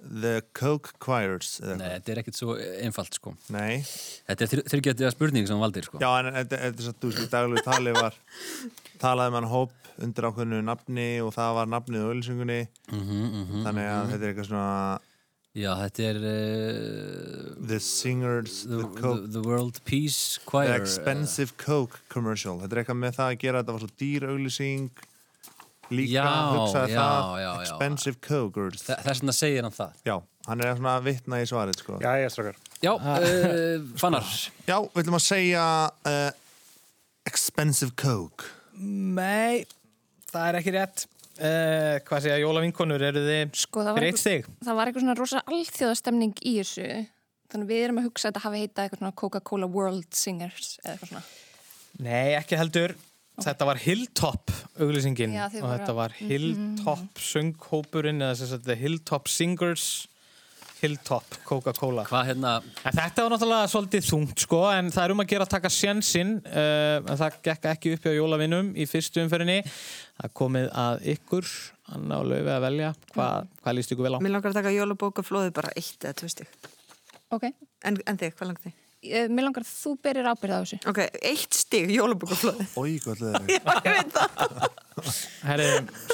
S5: The Coke Choirs. eða
S6: Nei,
S5: eitthvað.
S6: þetta er ekkit svo einfalt, sko.
S5: Nei.
S6: Þetta er þurrgetiða spurning sem hún valdir, sko.
S5: Já, en þetta þetta er svo þú veist, í daglegu tali var talaði mann hóp undir ákveðinu nafni og það var nafnið á ölsingunni
S6: Mhm,
S5: þannig að þetta er eitthvað svona
S6: Já, þetta er uh,
S5: The Singers, The,
S6: the,
S5: Coke
S6: the, the World Peace
S5: The
S6: Choir.
S5: Expensive Coke Commercial þetta er eitthvað með það að gera, þetta var svo dýr ölsing líka
S6: Já,
S5: hugsaði
S6: já,
S5: það
S6: já, já.
S5: Expensive Coke
S6: Þa- Þess vegna segir hann það.
S5: Já, hann er svona að vitna í svarið sko.
S2: Já, ég strákar.
S6: Já, uh, fannar.
S5: Já, við ætlum að segja uh, Expensive Coke
S1: Nei, það er ekki rétt uh, Hvað segja, jólavinkonur, eru þið
S4: Sko, það var
S1: fyrir eitt stig?
S4: það var eitthvað svona rosa alþjóðastemning í þessu þannig að við erum að hugsa að þetta hafi heitað eitthvað svona Coca-Cola World Singers eða eitthvað svona
S1: Nei, ekki heldur Þetta var Hilltop auglýsingin
S4: Já, þau
S1: og
S4: voru- Mhm.
S1: þetta var Hilltop sönghópurinn eða sem sagt Hilltop Singers Hilltop Coca-Cola
S6: Hvað hérna,
S1: En þetta var náttúrulega svolítið þungt sko, en það er um að gera að taka sjensinn, uh, en það gekk ekki upp hjá jólavinnum í fyrstu umferinni. Það er komið að ykkur, Anna og Laufi, að velja
S4: Mm.
S1: hvað, hvað líst ykkur vel á.
S3: Mér langar að taka jólabóka flóði bara eitt eða tvö stig
S4: Ok,
S3: En, en þig, hvað langar þig?
S4: Eh, mér langar að þú berir ábyrð á þessu
S3: Ok, eitt stig jólabóka flóði
S5: Ói, hvað ætlaði það?
S3: Ég veit það
S1: Herri,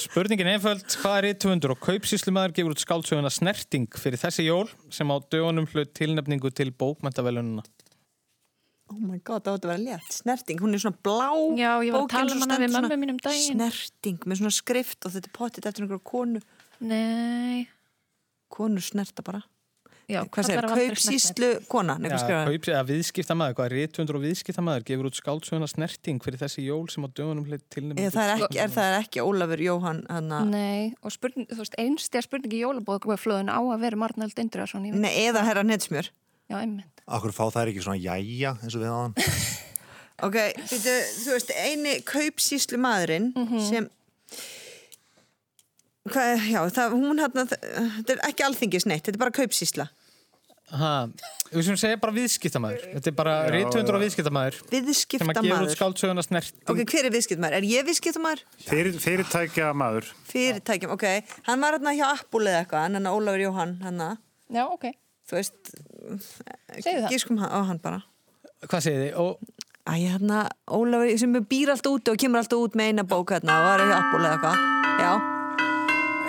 S1: spurningin er einföld, hvað er rítuvundur og kaupsýslumæður gefur út skáldsöguna snerting fyrir þessi jól sem á dögunum hlut tilnefningu til bókmentavelununa?
S3: Oh my god, það átti að vera létt Snerting, hún er svona blá
S4: Já, ég var að
S3: bókin
S4: tala
S3: svo
S4: um hana
S3: stendur
S4: við
S3: svona
S4: mömmu mín um daginn.
S3: Snerting, með svona skrift og þetta er pottit eftir einhverju konu
S4: Nei,
S3: Konur snerta bara
S4: já,
S3: Hvað segir,
S4: kallar á aldrei snerti.
S3: kaupsýslu kona Nei,
S1: Já,
S3: hvað skrifaði hann?
S1: kaups, eða viðskiptamæður, hvað er rítuvundur og viðskiptamæður gefur út skáldsöguna snerting fyrir þessi jól sem á dögunum hlut tilnefningu
S3: Eða það er ekki, er það ekki Ólafur Jóhann hana,
S4: Nei, og spurning, þú veist, einstja spurning í jólabóðkvöflöðun á að vera Marnald Indriðarsson
S3: nei, eða herra Netsmjör
S4: Já, einmitt
S5: Akkur fá það ekki svona jæja eins og við aðan
S3: Ok, býtu, þú veist, eini kaupsýslu maðurinn
S4: Mhm.
S3: sem Hvað, já, það, hún hérna, þetta er ekki alþingisneitt, þetta er bara kaupsýsla.
S1: Ha, við sem segja bara viðskiptamæður þetta er bara rítuvundur og viðskiptamæður sem að gefa út
S3: Viðskiptamaður.
S1: skáldsöguna snerting
S3: Ok, hver er viðskiptamaður? Er ég viðskiptamaður?
S2: Fyrir, fyrirtækja maður.
S3: Fyrirtækjum, ok. Hann var hérna hjá Apple eða eitthvað, hann hérna Ólafur Jóhann, hann að,
S4: Já, ok,
S3: þú veist,
S4: Segðu það.
S3: gískum hann, á hann bara.
S1: hvað segir þið? Og,
S3: Æ, hérna, Ólafur, sem býr alltaf út og kemur alltaf út með eina bók hérna, var hjá Apple eða eitthvað. Já,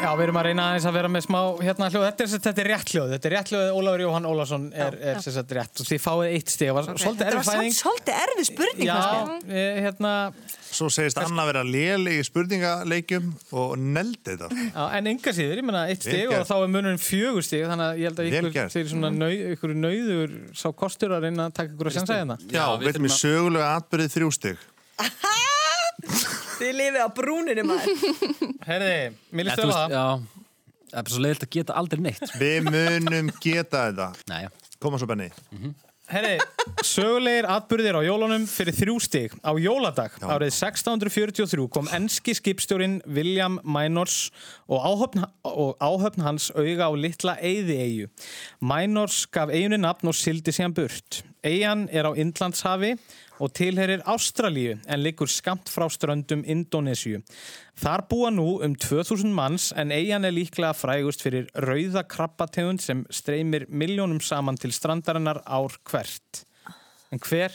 S1: já, við erum að reyna aðeins að vera með smá hérna hljóð, þetta er, sem sagt- þetta er rétt hljóð þetta er rétt hljóð, Ólafur Jóhann Ólafsson er, er sem sagt rétt og þið fáið eitt stig, það var svolítið
S3: þetta var
S1: erfið
S3: samt
S1: fæðing
S3: svolítið erfið spurning, fannst mér.
S1: Já, eh, hérna,
S5: Svo segist Anna vera léli í spurningaleikjum og neldi þetta
S6: Hérna-
S1: já, en enga síður, ég menna eitt
S5: Vel
S1: stig og
S5: gert.
S1: þá er munurinn fjögur stig þannig að ég held að
S5: Vel
S1: ykkur,
S5: gert.
S1: þeir svona
S3: Mhm.
S1: nau, ykkur nauður sá kostur að reyna að taka ykkur að sjansa hérna
S5: Já, við ætlum í sögulega atbyrðið þrjú stygg
S3: Þið lifið á brúninu maður.
S1: Herði, mér
S6: Ja,
S1: líst
S6: þú
S1: vel á
S6: veist,
S1: það
S6: Já, það er bara svo leiðilt að geta aldrei neitt. sko.
S5: Við munum geta þetta
S6: Nei, já.
S5: Koma svo Benni
S1: Herri, sögulegir atbyrðir á jólunum fyrir þrjú stig. Á jóladag árið 1643 kom enski skipstjórin William Minors og áhöfn, og áhöfn hans auga á litla eyðieyju. Minors gaf eiginu nafn og sildi síðan burt. Eyjan er á Indlandshafi og tilherir Ástralíu en liggur skamt frá ströndum Indonésiu. Þar búa nú um 2000 manns en eigin er líklega frægust fyrir rauða krabbategund sem streymir miljónum saman til strandarinnar ár hvert. En hver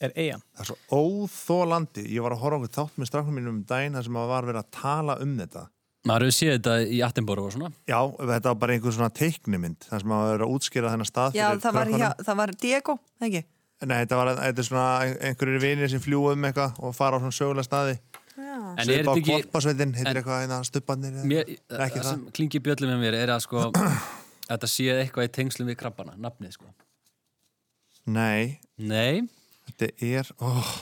S1: er eigin?
S5: Það er svo óþólandi Ég var að horfa á okkur þátt með strafnum mínum um daginn þar sem maður var verið að tala um þetta
S6: Maður hefur séð þetta í Attenborough og svona.
S5: Já, þetta var bara einhver svona teiknimynd þar sem maður var að útskýra þennan stað
S3: Já,
S5: fyrir
S3: það var, hjá,
S5: krökkunum.
S3: það var Diego, eða ekki?
S5: Nei, þetta var þetta er svona einhverjir vinir sem fljú um eitthvað og fara á svona sögulega staði
S6: En er
S5: Svipa á
S6: þetta ekki...
S5: kvolpasveitin, heitir
S6: en-
S5: eitthvað eina stubbarnir eða-
S6: Mér,
S5: Ekki
S6: sko. það
S5: það.
S6: sem klingi bjöllum með mér er að sko þetta sé eitthvað í tengslum við krabbana, nafnið sko.
S5: Nei,
S6: Nei,
S5: þetta er oh,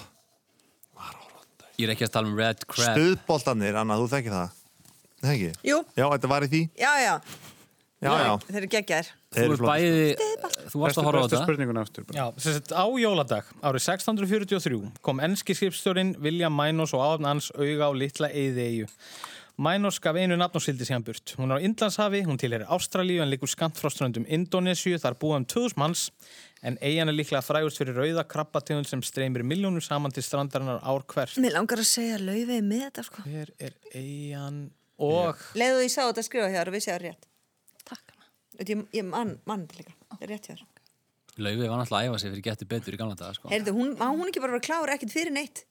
S6: ég er ekki að tala um Red Crab.
S5: Stuðboltarnir, Anna, þú þekkir það Nei, ekki?
S3: Jú,
S5: Já, þetta var í því
S3: já, já.
S5: Já, já.
S3: Þeir eru geggjaðir
S1: Þeir eru Þú ert flottir, bæði-
S6: sko.
S1: þú varst að horfa á þetta.
S2: spurninguna aftur bara.
S1: Já, sem sagt, á jóladag árið 1643 kom enski skrifstjórin William Minos og áfn hans auga á litla eyðeyju. Minos gaf einu nafn og sildi síðan burt. Hún er á Indlandshafi, hún tilherir Ástralíu en liggur skant frá ströndum Indonésiu, þar búa um 2000 manns, en eyjan er líklega frægust fyrir rauða krabbategund sem streymir miljónum saman til strandarinnar ár hvert.
S3: Mér langar að segja laufið með þetta sko
S1: Hver er eyjan og...
S3: Leðu ég sá þetta að skrifa hjá þér og vissi það rétt Takk Ég, ég man, man þetta líka, það er rétt hjá þér
S6: Laufið var náttúrulega að æfa sig fyrir getur betur í gamla daga sko.
S3: Heyrðu, hún, á hún ekki bara að vera klár ekkert fyrir neitt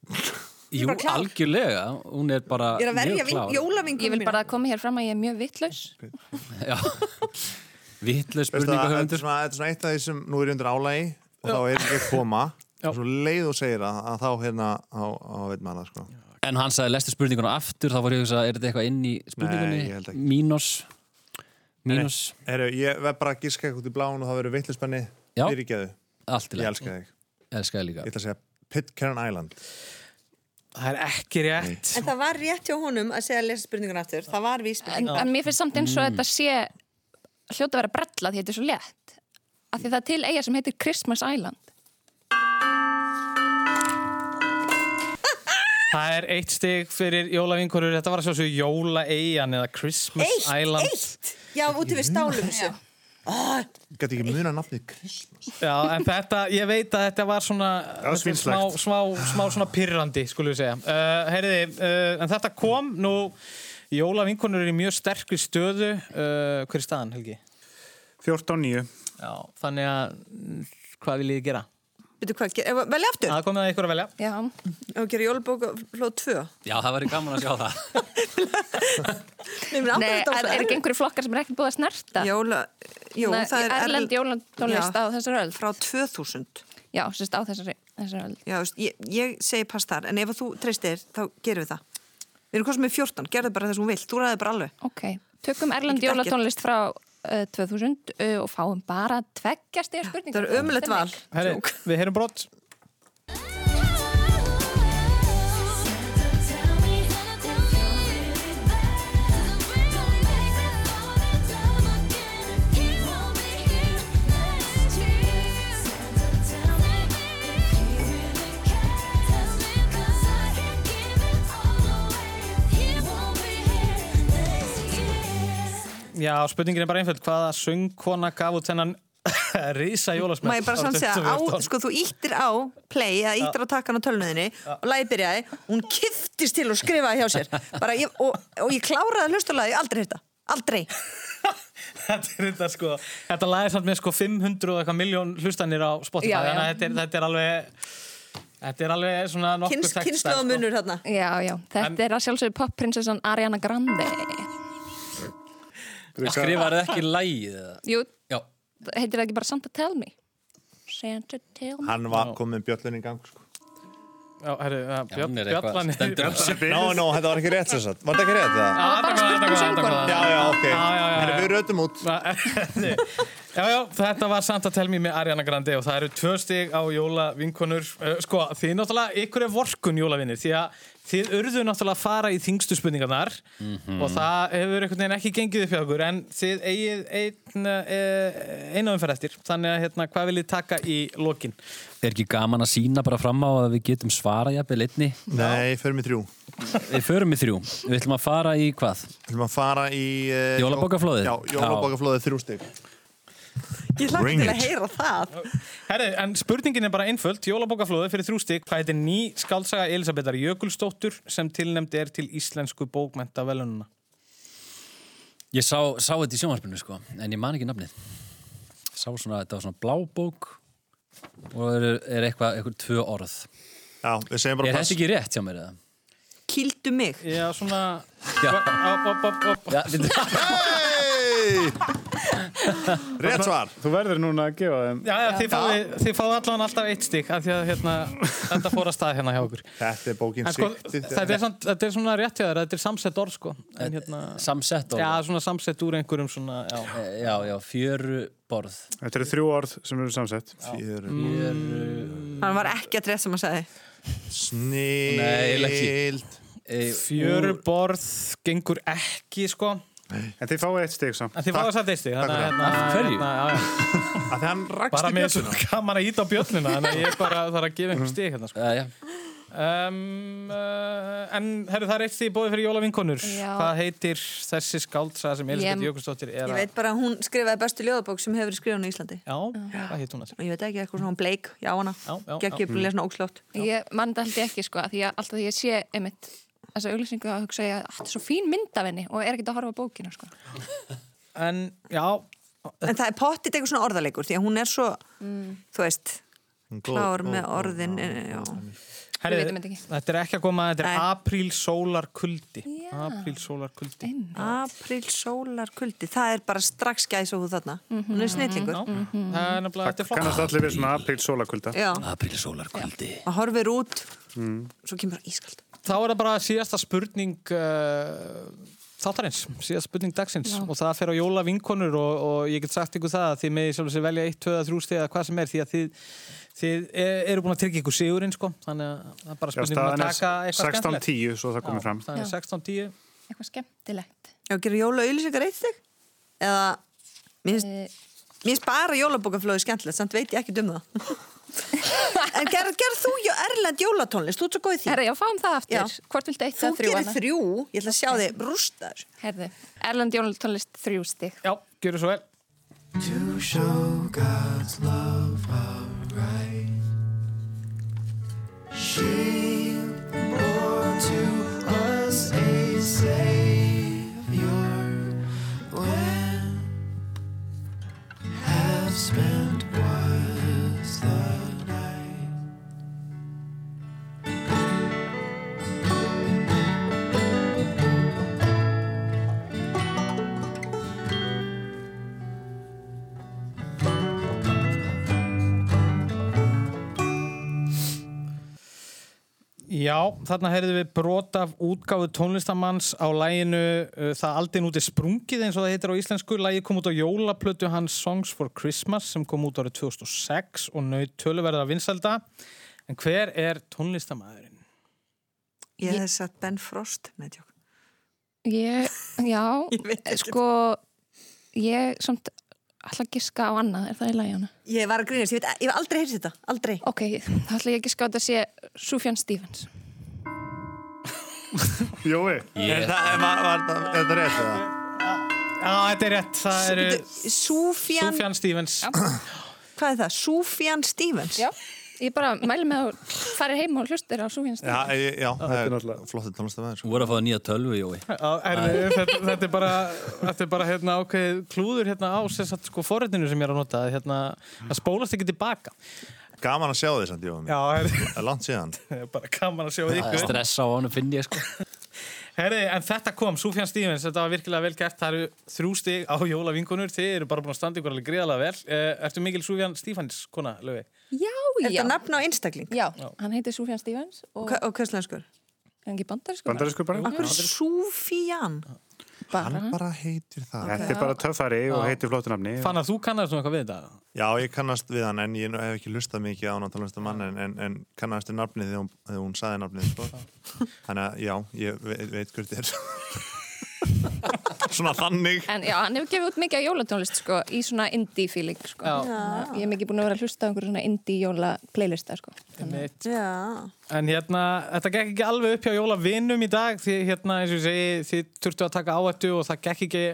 S6: Jú,
S3: bara klár.
S6: algjörlega, hún er bara
S3: Ég er að verja
S6: mjög klár.
S3: jólavingu
S4: Ég vil bara koma hér fram að ég er mjög vittlaus.
S6: Vittlega
S5: Veistu það, Þetta
S6: spurningahöfundur
S5: er svona- þetta er svona eitt af því sem nú er ég undir álagi og þá er ekki að koma og svo leið og segir að, að þá hérna á, á veit maður það sko.
S6: En hann sagði, lestu spurninguna aftur þá var ég að hugsa, er þetta eitthvað inn í spurningunni?
S5: Nei, ég held ekki.
S6: Mínus Mínus,
S5: Heru, ég verð bara að gíska eitthvað út í bláun og það verður vitlispenni
S6: Já.
S5: fyrirgeðu.
S6: allt í
S5: Ég
S6: lagi.
S5: elska þig.
S6: Elska þig líka
S5: Ég ætla að segja Pitcairn Island.
S1: Það er ekki rétt
S3: En það var rétt hjá honum að segja að lesa spurningun aftur Það var
S4: En,
S3: vísbyrning
S4: en mér finnst samt eins
S3: Mm.
S4: og þetta sé hljóta að vera brella því þetta er svo létt. Af því það er til eiga sem heitir Christmas Island.
S1: Það er eitt stig fyrir jólavinkorur, þetta var að sjá svo jólaeyjan eða Christmas
S3: Eitt,
S1: Island.
S3: eitt Já, úti við stálum um þessu
S5: Gæti ekki muna nafnið Christmas.
S1: Já, en þetta, ég veit að þetta var svona þetta er
S5: svínslegt.
S1: smá, smá, smá svona pyrrandi, skulum við segja. Uh, heyriði, uh, en þetta kom nú, jólavinkorur er í mjög sterkri stöðu, uh, hver er staðan, Helgi?
S2: 14.9
S1: Já, þannig að, mm, hvað vil ég gera?
S3: Veitu hvað, ge- ef- velja aftur
S1: Það komið að ykkur að velja.
S4: Já.
S3: Ef við gerum jólabók eh, hlóð 2
S6: Já, það væri gaman að sjá það
S3: Nei, en
S4: Nei, er, er ekki einhverju flokkar sem er ekki búið að snerta?
S3: Jóla, jú,
S4: Nei,
S3: það er
S4: erlend jólatónlist á þessari öll.
S3: Frá 2000
S4: Já, sérst á þessari, þessari öll.
S3: Já, þú veist, ég, ég segi pass þar, en ef að þú treystir, þá gerum við það. Við erum hvað sem er 14, gerðu bara það sem hún vill, þú ræði bara alveg.
S4: Ok, tökum
S3: Ég
S4: erlend
S3: get ekkert.
S4: jólatónlist frá uh, 2000 uh, og fáum bara tveggjast eða spurningar.
S3: Það er ömulegt val.
S1: Heyriði, við heyrum brott. Já, spurningin er bara einföld, hvaða söngkona gaf út þennan rísa jólasmenn?
S3: Má ég bara samt segja, á, sko, þú íttir á play, eða íttir á takkan á tölnuðinni og lagið byrjaði, hún kiftist til og skrifaði hjá sér. Bara, ég, og, og ég kláraði að hlusta á lagið, aldrei hérta. Aldrei.
S1: þetta er þetta sko þetta lagið samt með sko 500 og eitthvað miljón hlustanir á Spotify
S4: Já, já.
S1: þannig að þetta er, þetta er alveg þetta er alveg svona nokkuð þekkt
S3: Kyns,
S1: stærð, sko.
S3: Kynnslóðamunur þarna.
S4: Já, já, þetta er að sjálfsögðu popprinsessan Ariana Grande.
S6: Skrifaði ekki lægið eða?
S4: Jú,
S6: Já,
S4: heitir það ekki bara Santa Tell Me? Santa Tell Me?
S5: Hann var komið bjöllun í gang sko.
S1: Já, herru, uh,
S6: Já,
S1: björn,
S6: hún er eitthvað-
S1: bjallan
S6: stendur á sér.
S5: Nó, nó, þetta var ekki rétt sér satt. Var þetta ekki rétt það?
S1: Já,
S4: bara
S1: þetta kom það,
S4: spurt um
S1: þetta kom það,
S5: Já, já, ok.
S1: Já, já, já,
S5: Herra,
S1: já.
S5: Við rötum út.
S1: þetta kom það. já, já, þetta var samt að telja mér með Ariana Grande og það eru tvö stig á jólavinkonur Eh, sko, þið náttúrulega, ykkur er vorkun jólavinir því að þið urðu náttúrulega að fara í þingstu spurningarnar og það hefur einhvern veginn ekki gengið upp hjá okkur en þið eigið einn einu umferð eftir, þannig að hérna, hvað viljið taka í lokin?
S6: er ekki gaman að sína bara fram á að við getum svara jafnvel einni
S5: Nei, förum í þrjú.
S6: Við förum í þrjú, við ætlum að fara í hvað?
S5: Við ætlum að fara í... Uh,
S6: Jólabókaflóðið?
S5: Já, jólabókaflóðið þrjú stygg.
S3: Ég hlakka
S5: Ring
S3: til að
S5: it.
S3: heyra það.
S1: Herri, en spurningin er bara einföld, jólabókaflóðu fyrir þrjú stig, hvað heitir ný skálsaga Elisabethar Jökulsdóttur sem tilnefnd er til íslensku bókmenta
S6: Ég sá, sá þetta í sjónvarpinu sko, en ég man ekki nafnið. Sá svona, þetta var svona blábók og það er, er eitthvað, eitthvað tvö orð.
S5: Já, við segjum bara
S6: Er þetta ekki rétt hjá mér eða?
S3: Kildu mig.
S1: Já, svona
S6: Já.
S1: Op, op, op, op.
S6: Já, við-
S5: Hey! Rétt svar.
S2: Þú verður núna að gefa þeim
S1: Já, já, þið fáið þið fáið allan alltaf eitt stig af því að hérna, þetta fór að stað hérna hjá okkur
S5: Þetta er bókin
S1: En sko,
S5: siktið.
S1: þetta er, samt, þetta er svona rétt hjá þér, þetta er samsett orð sko en, hérna, Já,
S6: Samsett orð. Eh,
S1: svona samsett úr einhverjum svona já.
S6: Já, já, fjöru borð.
S2: Þetta eru þrjú orð sem eru samsett
S5: Fjöru.
S1: Mm.
S3: Hann var ekki að dressa maður sagði.
S5: Snild.
S6: Nei, eiginlega ekki. E,
S1: Fjöruborð gengur ekki sko
S2: En þið fáið eitt stig samt.
S1: En þið fáið samt eitt stig, þannig að hérna-
S2: Af hverju?
S1: hérna, já, já.
S5: Að því hann rakst
S1: Bara
S5: í
S1: með
S5: bjölluna.
S1: svo gaman að íta á bjölluna, þannig að ég bara þarf að gefa einhver stig hérna, sko.
S6: Já, já.
S1: Um, uh, en herru, það er eitt stig bóðið fyrir jólavinkonur.
S3: Já.
S1: Hvað heitir þessi skáldsa sem Elisabeth
S3: Ég-
S1: Jökulsdóttir er
S3: Ég
S1: að...
S3: veit bara að hún skrifaði bestu ljóðabók sem hefur verið skrifað á Íslandi.
S1: Já, hvað heit hún að
S3: Og ég veit ekki eitthvað svona bleik, já hana.
S1: já, Mm.
S3: Gekk
S1: já.
S3: ég að lesa svona ókslótt.
S4: Ég mann þetta held ég ekki sko, af því að alltaf því ég sé einmitt þessa auglýsingu að hugsa ég að þetta er svo fín mynd af henni og er ekkert að horfa á bókina sko.
S1: En, já.
S3: En það er pottit eitthvað svona orðalegur, því að hún er svo, þú veist, klár með orðin. eh, Já.
S1: Herri,
S3: Við vitum þetta ekki.
S1: þetta er ekki að koma, þetta er
S3: Nei.
S1: apríl sólar kuldi. Apríl sólar kuldi.
S3: Apríl sólar kuldi, það er bara strax gæs og húð þarna. Hún er snillingur.
S1: Mm-hmm. Það er nefnilega, þetta er flott.
S2: Kannast allir við svona apríl sólakvölda.
S3: Já.
S6: Apríl sólarkvöldi.
S3: Og horfir út, svo kemur það ískald.
S1: Þá er það bara síðasta spurning uh, þáttarins, síðasta spurning dagsins
S3: Já.
S1: og það fer á jóla vinkonur og, og ég get sagt ykkur það að þið meði sjálf og sér velja 1, 2, 3 steg eða hvað sem er því að þið, þið e- eru búin að tryggja ykkur sigurinn sko, þannig að það er bara
S2: Já,
S1: spurning um
S2: staðan
S1: að
S2: er
S1: taka eitthvað
S2: 16.10 svo það komið fram.
S1: staðan er 16.10
S4: Eitthvað skemmtilegt.
S3: Já, gerir jóla auðlýsingar eitt steg? Eða, mér
S4: finnst,
S3: mér finnst bara jólabókaflöðu skemmtilegt, samt veit ég ekki um það. en gerð ger þú jo- erlend jólatónlist, þú ert svo góð í því.
S4: Herra, já, fáum það aftur. Hvort viltu eitt
S3: þú
S4: eða þrjú
S3: gerir
S4: annað?
S3: þrjú, ég ætla að sjá þig rústar.
S4: Herði, Erlend Jónaltónlist þrjú stig.
S1: Já, gjöru svo vel.
S8: To show God's love aright. She bore to us a savior when half spent was the night.
S1: Já, þarna heyrðum við brot af útgáfu tónlistamanns á læginu uh, Það aldinn úti sprungið eins og það heitir á íslensku. Lægi kom út á jólaplötu hans Songs for Christmas sem kom út árið 2006 og naut töluverðar vinsalda. En hver er tónlistamæðurinn?
S3: Ég hef satt Ben Frost, neðjók.
S4: Ég, já, sko, ég samt ætla að giska á annað, er það í lagi hana?
S3: Ég var að grínast, ég, veit, ég hef aldrei heyrst þetta, aldrei.
S4: Ok, þá ætla ég að giska á þetta að sé Sufjan Stevens.
S2: Jói,
S5: Er það, er, var, var, var, er það rétt eða?
S1: Já, þetta er rétt. Það eru
S3: Súfjan,
S1: Sufjan Stevens.
S3: hvað er það? Súfjan Stevens?
S4: Já, ég bara mæli með að fara heim og hlustir á Sufjan
S5: Já,
S4: Stevens.
S5: ég- já, það er sko. flottir tónlistamæður.
S6: Þú voru að fá nýja tölvu, Jói.
S1: Já, herðu, þetta, þetta er bara, þetta er bara hérna, ákveðið klúður hérna á sem sagt, sko, forritinu sem ég er að nota. Hérna, það spólast ekki tilbaka.
S5: Gaman að sjá því samt, Jói.
S1: Já, herðu.
S5: Það er langt síðan.
S1: Það er bara gaman að sjá ykkur.
S6: Það er stress á honum, finn ég sko.
S1: Herri, en þetta kom, Sufjan Stevens, þetta var virkilega vel gert, það eru þrjú stig á jólavingunur, þið eru bara búin að standa ykkur alveg gríðalega vel. Eh, Ertu mikil Sufjan Stevens, kona, löfi?
S4: Já, já.
S3: Er þetta nafn á einstakling?
S4: Já, hann heitir Sufjan Stevens og
S3: Og hvað slenskur?
S4: er hann ekki bandarískur?
S2: bandarísku bara.
S3: Akkur Súfjan?
S5: Hann bara heitir það.
S2: Þetta er bara töffari og heitir flottu nafni.
S1: Fannar, þú kannast nú eitthvað við þetta?
S5: Já, ég kannast við hann en ég hef ekki lustað mikið á hann tónlistar mann en, en, en kannast við nafnið þegar hún, þegar hún saði nafnið sko. Þannig að já, ég veit, veit hvert þið er Svona þannig
S4: En já, hann hefur gefið út mikið af jólatónlist sko, í svona indie feeling sko.
S1: Já.
S4: Ég hef mikið búin að vera að hlusta á einhverjum svona indie jóla playlista sko.
S1: Einmitt.
S3: Já.
S1: En hérna, þetta gekk ekki alveg upp hjá jólavinnum í dag, því hérna, eins og ég segi, þið þurftu að taka áhættu og það gekk ekki,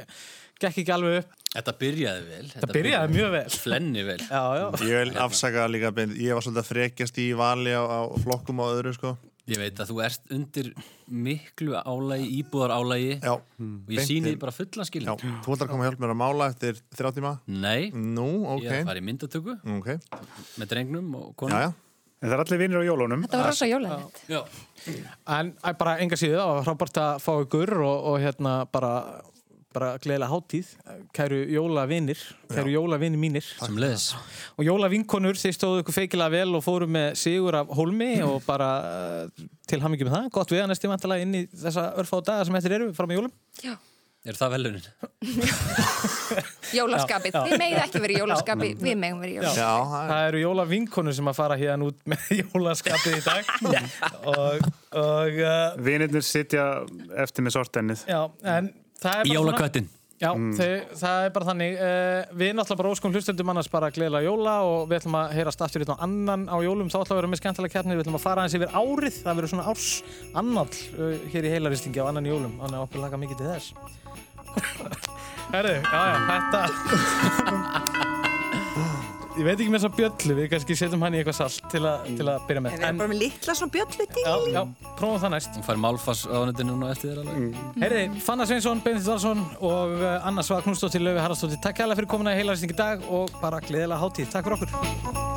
S1: gekk ekki alveg upp.
S6: Þetta byrjaði vel. Þetta
S1: byrjaði mjög vel.
S6: Flenni vel.
S1: Já, já.
S5: Ég vil afsaka líka beint, ég var svolítið að frekjast í vali á, á flokkum og öðru sko.
S6: Ég veit að þú ert undir miklu álægi, íbúðar álægi
S5: Já,
S6: og ég sýni bara fullan skilin.
S5: Já, þú ætlar að koma að hjálpa mér að mála eftir þrjá tíma
S6: Nei,
S5: Nú,
S6: ég er að
S5: ok,
S6: fara í myndatöku
S5: ok
S6: með drengnum og
S5: Já,
S6: konum.
S5: já,
S2: En það er allir vinnir á jólunum.
S4: Þetta var rosa jólalegt.
S6: Já,
S1: En æ, bara enga síðu, það var frábært að fá ykkur og, og hérna bara, bara gleðilega hátíð, kæru jólavinnir, kæru jólavinnir mínir.
S6: sem leðis.
S1: og jólavinkonur, þið stóðu ykkur feikilega vel og fóru með sigur af hólmi og bara uh, til hamingjum með það, gott við að næstum vantilega inn í þessa örfá daga sem eftir eru fram með jólum
S4: Já.
S6: Er það velunin?
S4: Jólaskapið. Þið megið ekki verið í jólaskapi, við megum verið í jólaskapi.
S5: já það er-
S1: Það eru jólavinkonur sem að fara hérna út með jólaskapið í dag og, og uh,
S2: Vinnirnir sitja eftir með sortennið.
S1: já, en Það er bara svona-
S6: Jólaköttin.
S1: Já, þau, það er bara þannig uh, Við náttúrulega bara óskum hlustundum annars bara að gleila jóla og við ætlum að heyrast aftur hérna á annan á jólum, þá ætlum að vera með skemmtilega kjarnir við ætlum að fara aðeins yfir árið, það verður svona árs annall uh, hér í heilaristingi á annan í jólum þannig að okkur laka mikið til þess Herru, já, já, þetta Ég veit ekki með þessa bjöllu, við kannski setjum hann í eitthvað salt til, a, til að byrja
S3: Við
S1: með
S3: erum bara með litla svona bjöllu
S1: Já, já, prófum það næst
S6: Hún fær málfass á hann núna eftir þér alveg
S1: Herri, Fanna Sveinsson, Benedikt Valsson og eh, Anna Svag Knúsdóttir, Löfi Haraldsdóttir, takk kærlega fyrir komuna í heilarsning í dag og bara gleðilega hátíð. Takk fyrir okkur.